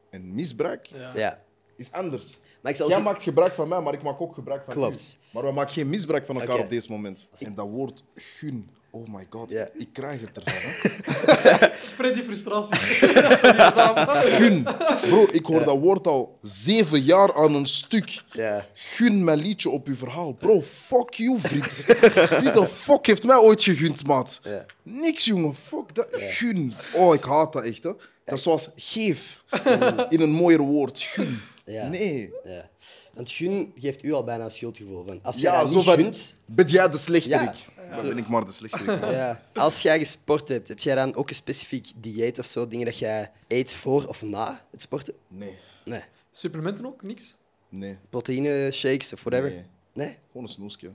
en misbruik
Ja.
is anders.
Maar ik zal
Jij
ze-
maakt gebruik van mij, maar ik maak ook gebruik van
Klopt.
u. Maar we maken geen misbruik van elkaar
Oké.
op dit moment. En dat woord gun, oh my god,
Ja.
ik krijg het ervan. hè.
Spreid die frustratie. Dat is niet gedaan.
Gun. Bro, ik hoor dat woord al zeven jaar aan een stuk.
Ja.
Gun mijn liedje op uw verhaal. Bro, fuck you, vriend. Wie de fuck heeft mij ooit gegund, maat?
Ja.
Niks, jongen. Fuck dat. Gun. Oh, ik haat dat echt, hè. Dat is zoals geef. In een mooier woord. Gun.
Ja.
Nee.
Ja. Want gun geeft u al bijna een schuldgevoel van. Als jij
Ja,
dat
zo
niet
van...
gunt,
Ben jij de slechterik?
Ja.
Dan ben ik maar de slechterik. maat.
ja. als jij gesport hebt, heb jij dan ook een specifiek dieet of zo? Dingen dat jij eet voor of na het sporten?
Nee.
Nee.
Supplementen ook, niks.
Nee.
Proteïne shakes of whatever?
Nee.
Nee?
Gewoon een snoesje.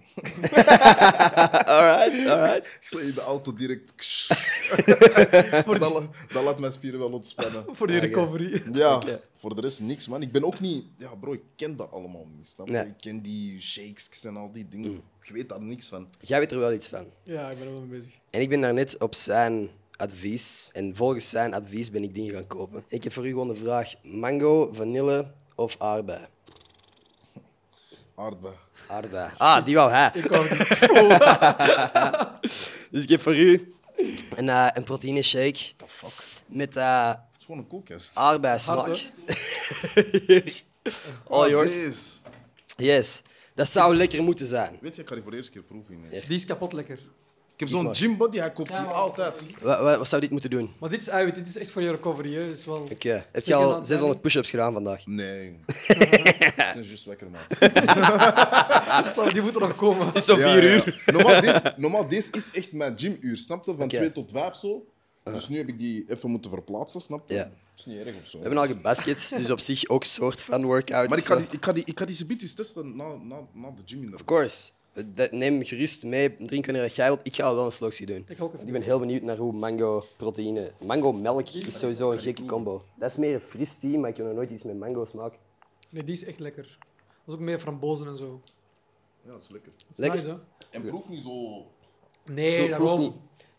Alright, alright.
Ik zet in de auto direct. dat, la- dat laat mijn spieren wel ontspannen.
Voor die recovery.
Ja, voor de rest niks, man. Ik ben ook niet... Ja, bro, ik ken dat allemaal niet, snap je?
Nee. Mm.
Ik ken die shakes en al die dingen. Ik weet daar niks van.
Jij weet er wel iets van.
Ja, ik ben er wel mee bezig.
En ik ben daar net op zijn advies. En volgens zijn advies ben ik dingen gaan kopen. Ik heb voor u gewoon de vraag: mango, vanille of aardbei?
Aardbei.
Aardbei. Ah, die wou hij. Dus ik heb voor u een, eh, een proteïne shake met eh Ah,
Het is gewoon een koelkast.
aardbeismaak.
Hard,
Hier. All yours.
Ah, Deze.
Oh, Yes. Dat zou lekker moeten zijn.
Weet je, ik ga die voor de eerste keer proeven. ineens.
Die is kapot lekker.
Ik heb
Kies
zo'n
maar.
gym die hij koopt hier
maar-
altijd.
Wat, wat, wat zou dit moeten doen?
Maar dit is uit, dit is echt voor je recovery. Hè. Dus wel...
Oké. Heb je
Zeker
al
dan-
600 push-ups gedaan vandaag?
Nee. jongen. Het is juist lekker, man. Het
Zo, die moet er nog komen.
is zo
Normaal, deze, normaal, deze is echt mijn gymuur, snap je? Van
Oké. Ah.
2 tot 5 zo. Dus nu heb ik die even moeten verplaatsen, snap je?
Ja.
Dat is niet erg of zo.
We hebben al gebaskets, dus op zich ook een soort van workout.
Maar ik
of
ga
zo.
die, ik ga die, ik ga die ze bietjes testen na, na, na de gym.
Of course. Dat- Neem gerust mee, drink wanneer jij wilt. Ik ga wel een slokje doen.
Ik ook even.
Want ik ben heel benieuwd naar hoe mango proteïne. Mango melk is sowieso een gekke combo. Dat is meer een fris tea, maar ik heb nog nooit iets met mango smaak.
Nee, die is echt lekker. Dat is ook meer frambozen en zo.
Ja, dat is lekker.
Dat is
Lekker.
nice, hè?
En proef niet zo...
Nee,
Proef- proef
daarom.
niet.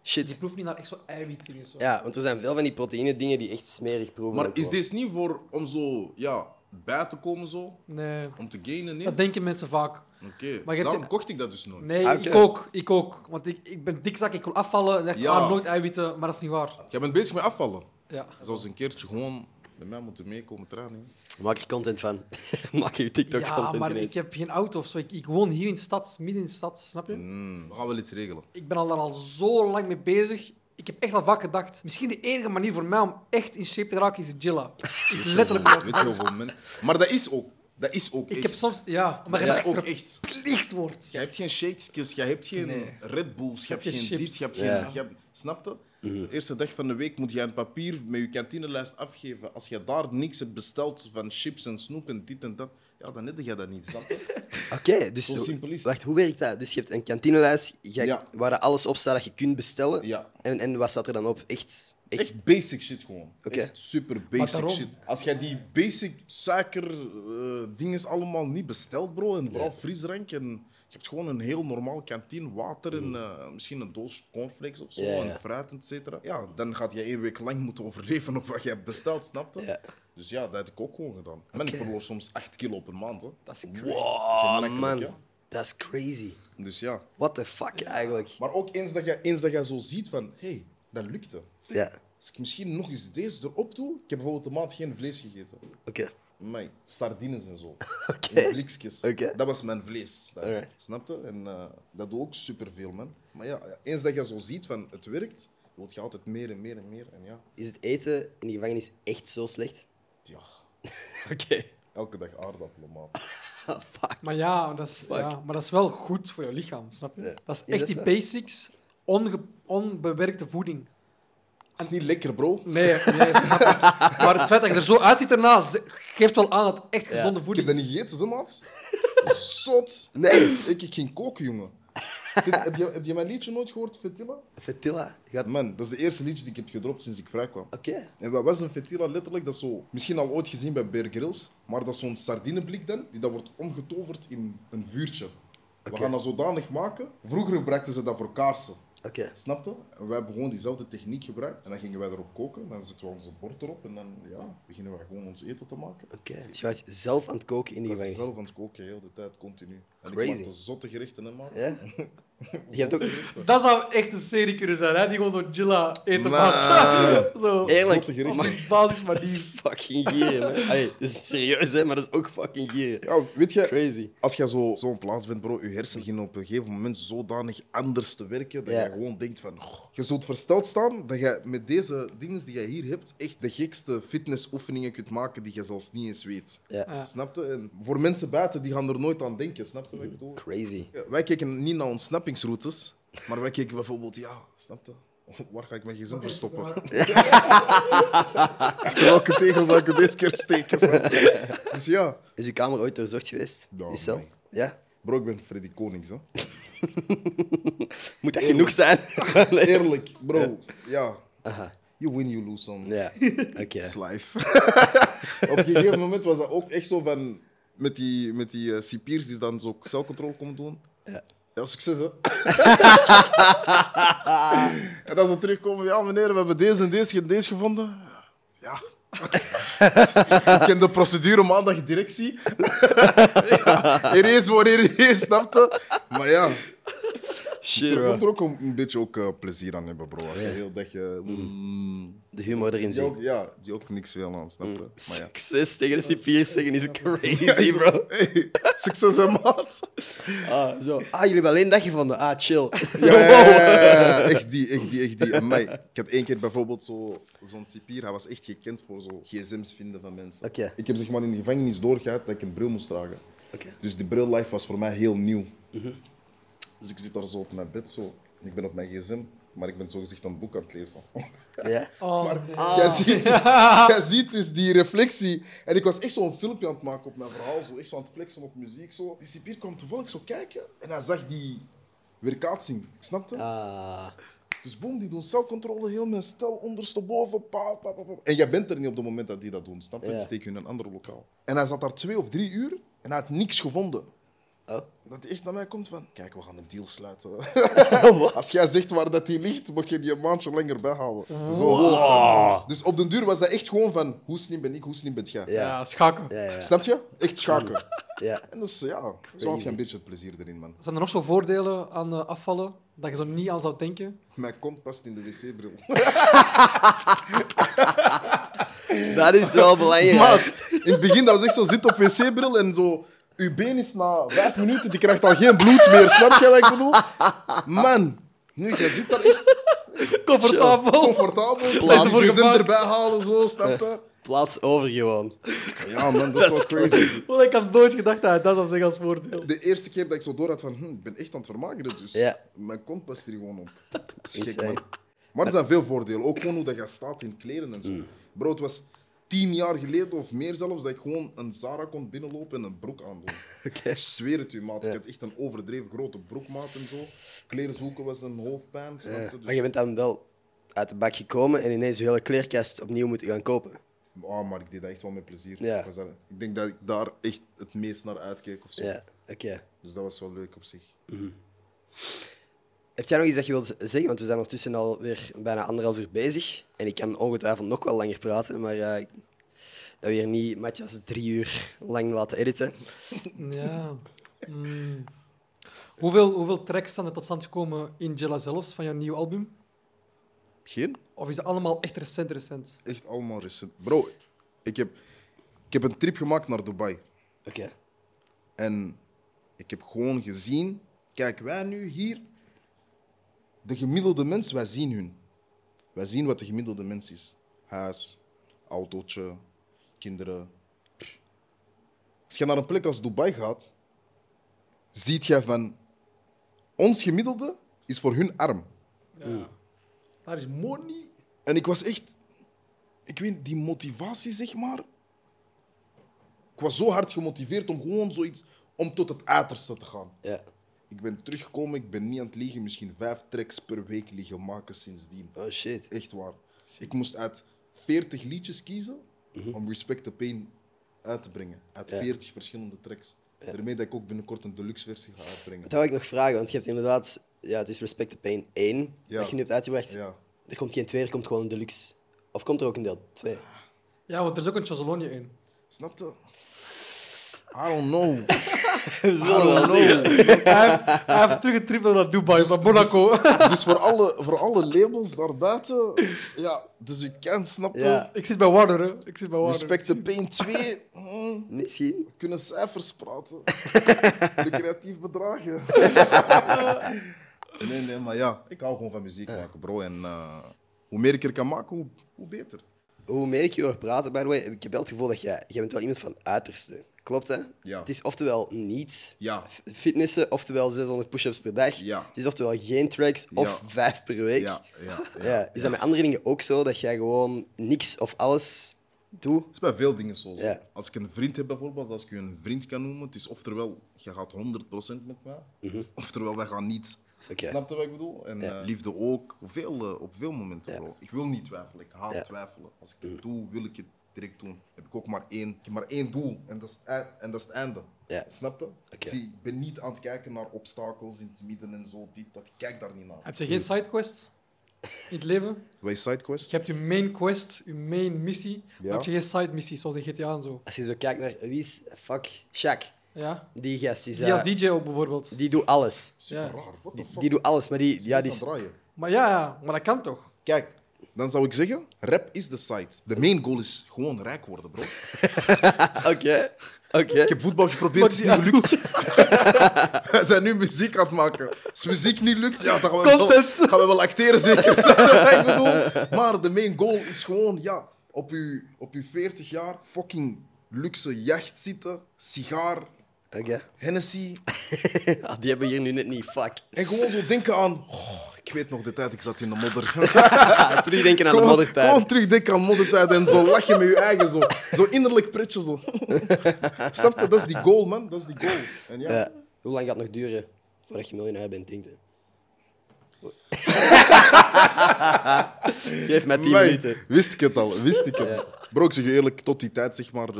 Die
Shit.
proeft niet naar echt zo'n eiwit in. Zo.
Ja, want er zijn veel van die proteïne dingen die echt smerig proeven.
Maar
ook
is
gewoon.
dit niet voor om zo ja, bij te komen zo?
Nee.
Om te gainen? Nee?
Dat denken mensen vaak.
Oké,
Maar je hebt-
daarom kocht ik dat dus nooit.
Nee,
Ah, oké.
ik ook. Ik ook. Want ik, ik ben dikzak, ik wil afvallen. En dacht,
Ja.
ah, nooit eiwitten. Maar dat is niet waar.
Jij bent bezig met afvallen.
Ja.
Zoals een keertje gewoon met mij moeten meekomen trainen.
Maak er content van. Maak je TikTok
Ja,
content
maar
ineens.
ik heb geen auto of zo. Ik, ik woon hier in de stad, midden in de stad, snap je?
Mm, we gaan wel iets regelen.
Ik ben al daar al zo lang mee bezig. Ik heb echt al vaak gedacht. Misschien de enige manier voor mij om echt in shape te raken is Jilla. Is letterlijk
Weet
wat.
je wel, hoeveel men- Maar dat is ook. Dat is ook
Ik
echt.
heb soms. Ja, maar
dat
je
is
dat
ook
echt
echt.
verplicht wordt.
Jij hebt geen shakes, jij hebt geen
Nee.
Red Bulls, je hebt
Je
geen
hebt geen
dips,
chips.
je hebt
Ja.
geen... Je hebt, snap je? De eerste dag van de week moet jij een papier met je kantinelijst afgeven. Als je daar niks hebt besteld van chips en snoep en dit en dat, ja, dan heb je dat niet, snap je?
Oké, dus
Zo
zo-
simpel is het.
wacht, hoe werkt dat? Dus je hebt een kantinelijst jij-
Ja.
waar alles op staat dat je kunt bestellen.
Ja.
En, en wat staat er dan op? Echt, echt,
Echt basic shit gewoon.
Oké.
Echt super
Maar
basic
daarom-
shit. Als jij die basic suiker eh, dingen allemaal niet bestelt, bro, en vooral frisdrank en je hebt gewoon een heel normaal kantine, water en eh, misschien een doos cornflakes of zo,
Mm. Ja, ja.
en fruit, et cetera. Ja, dan gaat jij één week lang moeten overleven op wat jij hebt besteld, snap je?
Ja.
Dus ja, dat heb ik ook gewoon gedaan. En ik verloor soms 8 kilo per maand. Hè.
Dat is
Wow,
Gemakkelijk,
man.
ja.
Dat is crazy.
Dus ja.
What the fuck eigenlijk?
Maar ook eens dat jij, eens dat jij zo ziet van, hé, hey, dat lukte.
Ja,
Als ik misschien nog eens deze erop doe, ik heb bijvoorbeeld een maand geen vlees gegeten.
oké.
Mij, sardines en zo.
Oké.
In blikjes.
Oké.
Dat was mijn vlees. Dat,
Alright.
Snap je? En eh, dat doe ook superveel, man. Maar ja, eens dat je zo ziet van het werkt, wil je altijd meer en meer en meer. En ja,
Is het eten in de gevangenis echt zo slecht?
ja
Oké.
elke dag aardappelen, maat.
Ah, fuck.
Maar ja dat, is, ja, maar dat is wel goed voor je lichaam, snap je?
Ja.
Dat is
Is
echt
dat
die
zo?
basics, onge- onbewerkte voeding.
Het is niet lekker, bro.
Nee, nee, snap ik. Maar het feit dat je er zo uitziet daarna ze- geeft wel aan dat het echt gezonde
Ik
voeding
heb dat
is.
niet gegeten, zo, maat. Zot.
Nee.
Ik, ik ging koken, jongen. Heb, heb, je, heb je mijn liedje nooit gehoord, Fetilla?
Vertilla. je gaat-
Man, dat is de eerste liedje die ik heb gedropt sinds ik vrij kwam.
Oké.
En wat was een fetila letterlijk? Dat is zo, misschien al ooit gezien bij Bear Grylls, maar dat is zo'n sardineblik dan, die dat wordt omgetoverd in een vuurtje. We gaan dat zodanig maken. Vroeger gebruikten ze dat voor kaarsen.
Oké.
Snap je? En wij hebben gewoon diezelfde techniek gebruikt. En dan gingen wij erop koken. Dan zetten we onze bord erop. En dan ja, beginnen wij gewoon ons eten te maken.
Oké. Dus je was zelf aan het koken in de
Dat is
gevangenis.
zelf aan het koken, heel de tijd, continu. En ik
Crazy.
maakte zotte gerechten, hè, man.
Ja? Je hebt ook...
Dat zou echt een serie kunnen zijn, hè? die gewoon zo Jilla eten
Nee.
maakt. zo.
Eerlijk. Oh
Zotte gerechten.
Op een basis
Dat is
manier.
fucking gier, man. Allee, dat is serieus, hè, maar dat is ook fucking gier.
Ja, weet je,
Crazy.
Als jij zo- zo'n plaats bent, bro, je hersenen beginnen op een gegeven moment zodanig anders te werken dat
Ja.
je gewoon denkt van... "Goh." je zult versteld staan dat je met deze dingen die je hier hebt echt de gekste fitnessoefeningen kunt maken die je zelfs niet eens weet.
Ja.
Ja.
Snap je? En voor mensen buiten, die gaan er nooit aan denken. Snap je wat ik bedoel?
Crazy.
Ja, Wij kijken niet naar ontsnappingsroutes, maar wij kijken bijvoorbeeld... Ja, snap je? Waar ga ik mijn gezin verstoppen? Achter welke tegel zou ik het deze keer steken? snap je? Dus ja...
Is uw kamer ooit doorzocht geweest?
Ja,
Die cel?
nee.
Ja?
Bro, ik ben Freddy Konings, hè.
Moet dat genoeg zijn? Nee.
Eerlijk, bro. Ja.
Aha.
You win, you lose, son.
Ja, oké.
It's life. Op een gegeven moment was dat ook echt zo van... Met die, met die eh, cipiers die dan zo celcontrole komen doen.
Ja.
Ja, succes, hè. en dan ze terugkomen. Ja, meneer, we hebben deze en deze, en deze gevonden. Ja. Ik ken de procedure maandag directie. ja, er is voor er is, snapte. Maar ja, Je
Shit,
moet
bro.
er ook een, een beetje ook, eh, plezier aan hebben, bro. Als je heel dat je... mm,
De humor erin
die
zien.
ook, ja, die ook niks wil aan, snap je? Maar ja.
Succes tegen de cipier zeggen is crazy, bro.
Hey, succes en maat.
Ah, zo. ah, jullie hebben alleen dat gevonden. Ah, chill.
Ja, ja, ja, ja, ja. echt die, echt die, echt die. Amai. Ik had één keer bijvoorbeeld zo- zo'n cipier, hij was echt gekend voor zo gsm's vinden van mensen.
Oké.
Ik heb zeg maar in de gevangenis doorgehad dat ik een bril moest dragen.
Oké.
Dus die bril life was voor mij heel nieuw. Dus ik zit daar zo op mijn bed zo, en ik ben op mijn gsm, maar ik ben zogezegd een boek aan het lezen.
Ja.
Oh,
Maar
nee.
jij, ziet dus, jij ziet dus die reflectie. En ik was echt zo'n filmpje aan het maken op mijn verhaal. Zo, echt zo aan het flexen op muziek. Zo. Die cipier kwam toevallig zo kijken. En hij zag die weerkaatsing. Ik snapte.
Ah,
Dus boom, die doen celcontrole. Heel mijn stel ondersteboven. Pa, pa, pa, pa. En jij bent er niet op het moment dat die dat doen. Snap je?
Ja.
Die steken hun in een ander lokaal. En hij zat daar twee of drie uur. En hij had niks gevonden.
Oh.
Dat hij echt naar mij komt van... Kijk, we gaan een deal sluiten. Als jij zegt waar dat die ligt, moet je die een maandje langer bijhouden. Zo hoog is dat. Dus op den duur was dat echt gewoon van, hoe slim ben ik, hoe slim ben jij?
ja.
Ja, schaken.
Ja, ja.
Snap je? Echt schaken.
ja.
En dus ja, zo had je een beetje het plezier erin, man.
Zijn er nog zo voordelen aan eh, afvallen dat je zo niet aan zou denken?
Mijn kont past in de wc-bril.
Dat is wel belangrijk.
Maar in het begin dat was echt zo, zit op wc-bril en zo... Uw been is na vijf minuten, die krijgt al geen bloed meer. Snap je wat ik bedoel? Man, nu, jij zit daar echt
Comfortabel.
comfortabel.
Plaats
Laat
voor
die gsm
gemaakt.
erbij halen, zo, snap je?
Plaats over gewoon.
Ja, man, dat is wel crazy.
Want ik had nooit gedacht dat hij dat zou zeggen als voordeel.
De eerste keer dat ik zo door had van, hm, ik ben echt aan het vermageren, dus
Ja.
mijn kont past hier gewoon op. Dat is
Is
gek, man.
echt.
Maar er zijn veel voordelen, ook gewoon hoe dat je staat in kleren en zo. Bro, het was tien jaar geleden of meer zelfs dat ik gewoon een Zara kon binnenlopen en een broek aandoen. Ik zweer het u, maat. Ik had echt een overdreven grote broekmaat en zo. Kleren zoeken was een hoofdpijn, snap je?
Ja.
Dus-
Maar je bent dan wel uit de bak gekomen en ineens je hele kleerkast opnieuw moeten gaan kopen.
Ah, maar ik deed dat echt wel met plezier.
Ja.
Ik, was daar- ik denk dat ik daar echt het meest naar uitkeek of zo.
Ja, oké.
Dus dat was wel leuk op zich.
Heb jij nog iets dat je wilt zeggen? Want we zijn ondertussen alweer bijna anderhalf uur bezig. En ik kan ongetwijfeld nog wel langer praten, maar eh, dat we hier niet Matthias drie uur lang laten editen.
Ja. Mm. Hoeveel, hoeveel tracks zijn er tot stand gekomen in Jella zelfs van jouw nieuw album?
Geen?
Of is het allemaal echt recent, recent?
echt allemaal recent. Bro, ik heb, ik heb een trip gemaakt naar Dubai.
Oké.
En ik heb gewoon gezien, kijk, wij nu hier, de gemiddelde mens, wij zien hun. Wij zien wat de gemiddelde mens is. Huis, autootje, kinderen. Als je naar een plek als Dubai gaat, ziet jij van, ons gemiddelde is voor hun arm.
Daar is money.
En ik was echt, ik weet niet, die motivatie zeg maar. Ik was zo hard gemotiveerd om gewoon zoiets, om tot het uiterste te gaan.
Ja.
Ik ben teruggekomen, ik ben niet aan het liegen, misschien vijf tracks per week liggen maken sindsdien.
Oh shit.
Echt waar. Ik moest uit 40 liedjes kiezen
Mhm.
om Respect the Pain uit te brengen. Uit 40 verschillende tracks. Daarmee dat ik ook binnenkort een deluxe versie ga uitbrengen.
Dat wou ik nog vragen, want je hebt inderdaad. Ja, het is Respect the Pain 1
Ja.
dat je nu hebt uitgebracht.
Ja.
Er komt geen 2, er komt gewoon een deluxe. Of komt er ook een deel 2?
Ja, want er is ook een Chazolonie in.
Snap je? I don't know.
We zullen
I
wel
don't
zien.
know.
Hij heeft, hij heeft terug een trip naar Dubai, naar Monaco.
Dus voor alle, voor alle labels daarbuiten, ja, dus u kan, snap je?
Ja.
Ik zit bij Warner, hè. Ik zit bij Warner.
Respect the Pain 2, mm,
Misschien.
we kunnen cijfers praten. Recreatief bedragen. nee, nee, maar ja, ik hou gewoon van muziek maken, bro. En eh, hoe meer ik er kan maken, hoe, hoe beter.
Hoe meer ik je hoor praten, by the way, ik heb wel het gevoel dat jij, jij bent wel iemand van het uiterste. Klopt hè?
Ja.
Het is oftewel niets.
Ja.
f- Fitnessen, oftewel 600 push-ups per dag.
Ja.
Het is oftewel geen tracks of
Ja.
vijf per week.
Ja, ja, ja.
Ja, Is dat met andere dingen ook zo dat jij gewoon niks of alles doet?
Het is bij veel dingen zo. zo.
Ja.
Als ik een vriend heb bijvoorbeeld, als ik je een vriend kan noemen, het is oftewel, je gaat 100% met mij, oftewel, wij gaan niet.
Mhm. Oké.
Snap je wat ik bedoel? En
Ja.
eh, liefde ook, veel, eh, op veel momenten.
Ja.
Bro. Ik wil niet twijfelen, ik haat
Ja. Mhm.
twijfelen. Als ik het doe, wil ik het direct doen. Heb ik ook maar één, ik heb maar één doel en dat is het, ei- en dat is het einde.
Ja.
Snap je?
Oké.
Zie, ik ben niet aan het kijken naar obstakels in het midden en zo, dit, dat, ik kijk daar niet naar.
Heb je geen sidequest in het leven?
Wij sidequest?
Je hebt je main quest, je main missie.
Ja.
Dan heb je geen side missie, zoals in GTA en zo.
Als je zo kijkt naar wie is fuck Shaq.
Ja.
Die gast is... eh,
Die als DJ ook bijvoorbeeld.
die doet alles.
Super
Ja.
raar, what the fuck?
Die doet alles, maar die... Ja, die
is
is-
aan het draaien.
Maar ja, ja, maar dat kan toch?
Kijk, dan zou ik zeggen, rap is de site. De main goal is gewoon rijk worden, bro.
Oké. Oké.
Ik heb voetbal geprobeerd, het is niet gelukt. Wij zijn nu muziek aan het maken. Als muziek niet lukt, ja, dan gaan we, wel,
Content.
gaan we wel acteren, zeker. Snap je wat ik bedoel? Maar de main goal is gewoon, ja, op je, op uw 40 jaar fucking luxe jacht zitten, sigaar,
Oké.
Hennessy.
Ah, Die hebben we hier nu net niet. Fuck.
En gewoon zo denken aan, "Oh, ik weet nog de tijd, ik zat in de modder.
Ah, Terugdenken aan de
Gewoon,
moddertijd.
gewoon terugdenken aan moddertijd en zo lach je met je eigen zo. Zo innerlijk pretje zo. Snap je? Dat is die goal, man. Dat is die goal. En ja,
Ja. Eh, Hoe lang gaat het nog duren voordat je miljonair bent, denk je? Geef mij 10
Amai,
minuten.
wist ik het al. Wist ik het. Bro, ik zeg je eerlijk, tot die tijd, zeg maar, eh,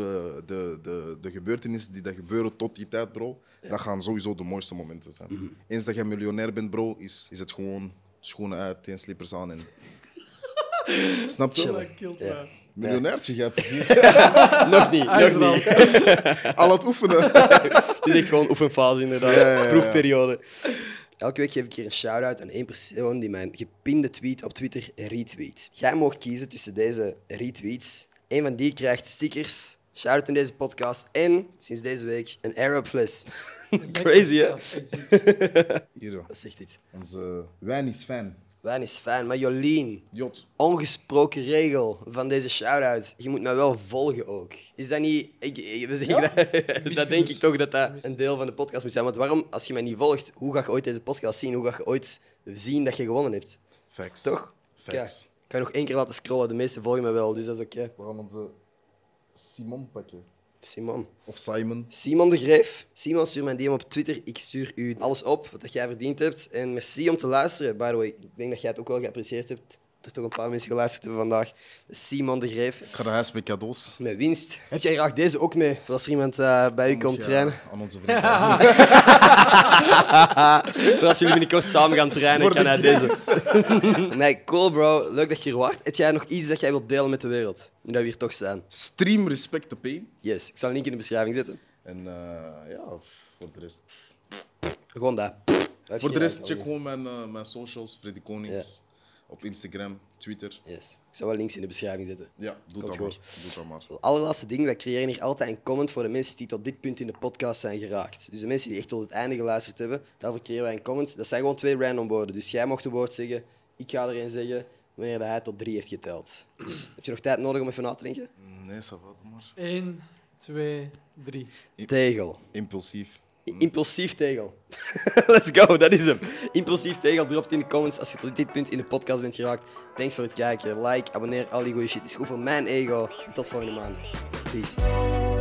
de, de, de gebeurtenissen die dat gebeuren tot die tijd, bro, dat gaan sowieso de mooiste momenten zijn.
Mhm.
Eens dat jij miljonair bent, bro, is, is het gewoon schoenen uit, geen slippers aan en... Snap je?
Kilt
Ja.
me.
Miljonairtje, jij precies.
Nog niet,
Hij is er
nog niet.
al.
Al aan het oefenen.
Dit is echt gewoon oefenfase, inderdaad.
Ja, ja, ja.
Proefperiode. Elke week geef ik hier een shout-out aan één persoon die mijn gepinde tweet op Twitter retweet. Jij mag kiezen tussen deze retweets. Eén van die krijgt stickers, shout-out in deze podcast en, sinds deze week, een Arab fles. Crazy, hè?
Dat is echt ziek.
Hier, joh.
Wat zegt dit?
onze wijn is fijn.
Wijn is fijn, maar Jolien,
Jot.
ongesproken regel van deze shout-out. Je moet mij wel volgen ook. Is dat niet... Ik, ik- we zeggen dat, dat denk ik toch dat dat een deel van de podcast moet zijn. Want waarom, als je mij niet volgt, hoe ga je ooit deze podcast zien? Hoe ga je ooit zien dat je gewonnen hebt?
Facts.
Toch?
Facts.
Kijk, ik kan je nog één keer laten scrollen. De meesten volgen me wel, dus dat is oké.
We gaan onze Simon pakken.
Simon.
Of Simon.
Simon de Greef. Simon, stuur mijn DM op Twitter. Ik stuur u alles op wat dat jij verdiend hebt. En merci om te luisteren. By the way, ik denk dat jij het ook wel geapprecieerd hebt. Dat er toch een paar mensen geluisterd hebben vandaag. Simon de Greef.
Ik ga naar huis met cadeaus.
Met winst. Heb jij graag deze ook mee? Voor als er iemand eh, bij u komt
Ja,
trainen.
Aan onze vrienden.
Voor als jullie binnenkort samen gaan trainen,
Voor
kan
de
hij deze. nee, cool bro. Leuk dat je hier wacht. Heb jij nog iets dat jij wilt delen met de wereld? Nu dat we hier toch zijn.
Stream Respect the Pain.
Yes, ik zal een link in de beschrijving zetten.
En eh, ja, voor de rest.
Gewoon dat. Heb
Voor de
je
rest,
dat
check
nodig?
gewoon mijn, eh, mijn socials, Freddy Konings. Op Instagram, Twitter.
Yes, ik zal wel links in de beschrijving zetten.
Ja, doe
Komt
dat maar.
goed.
Doe dat maar.
Het allerlaatste ding, wij creëren hier altijd een comment voor de mensen die tot dit punt in de podcast zijn geraakt. Dus de mensen die echt tot het einde geluisterd hebben, daarvoor creëren wij een comment. Dat zijn gewoon twee random woorden. Dus jij mocht een woord zeggen, ik ga er een zeggen, wanneer dat hij tot drie heeft geteld. Dus heb je nog tijd nodig om even na te denken?
Nee, ça va, doe maar.
Eén, twee, drie.
Tegel.
Impulsief.
I- Impulsief tegel. Let's go, dat is hem. Impulsief tegel, drop het in de comments als je tot dit punt in de podcast bent geraakt. Thanks voor het kijken. Like, abonneer, al die goede shit. is goed voor mijn ego. En tot volgende maandag. Peace.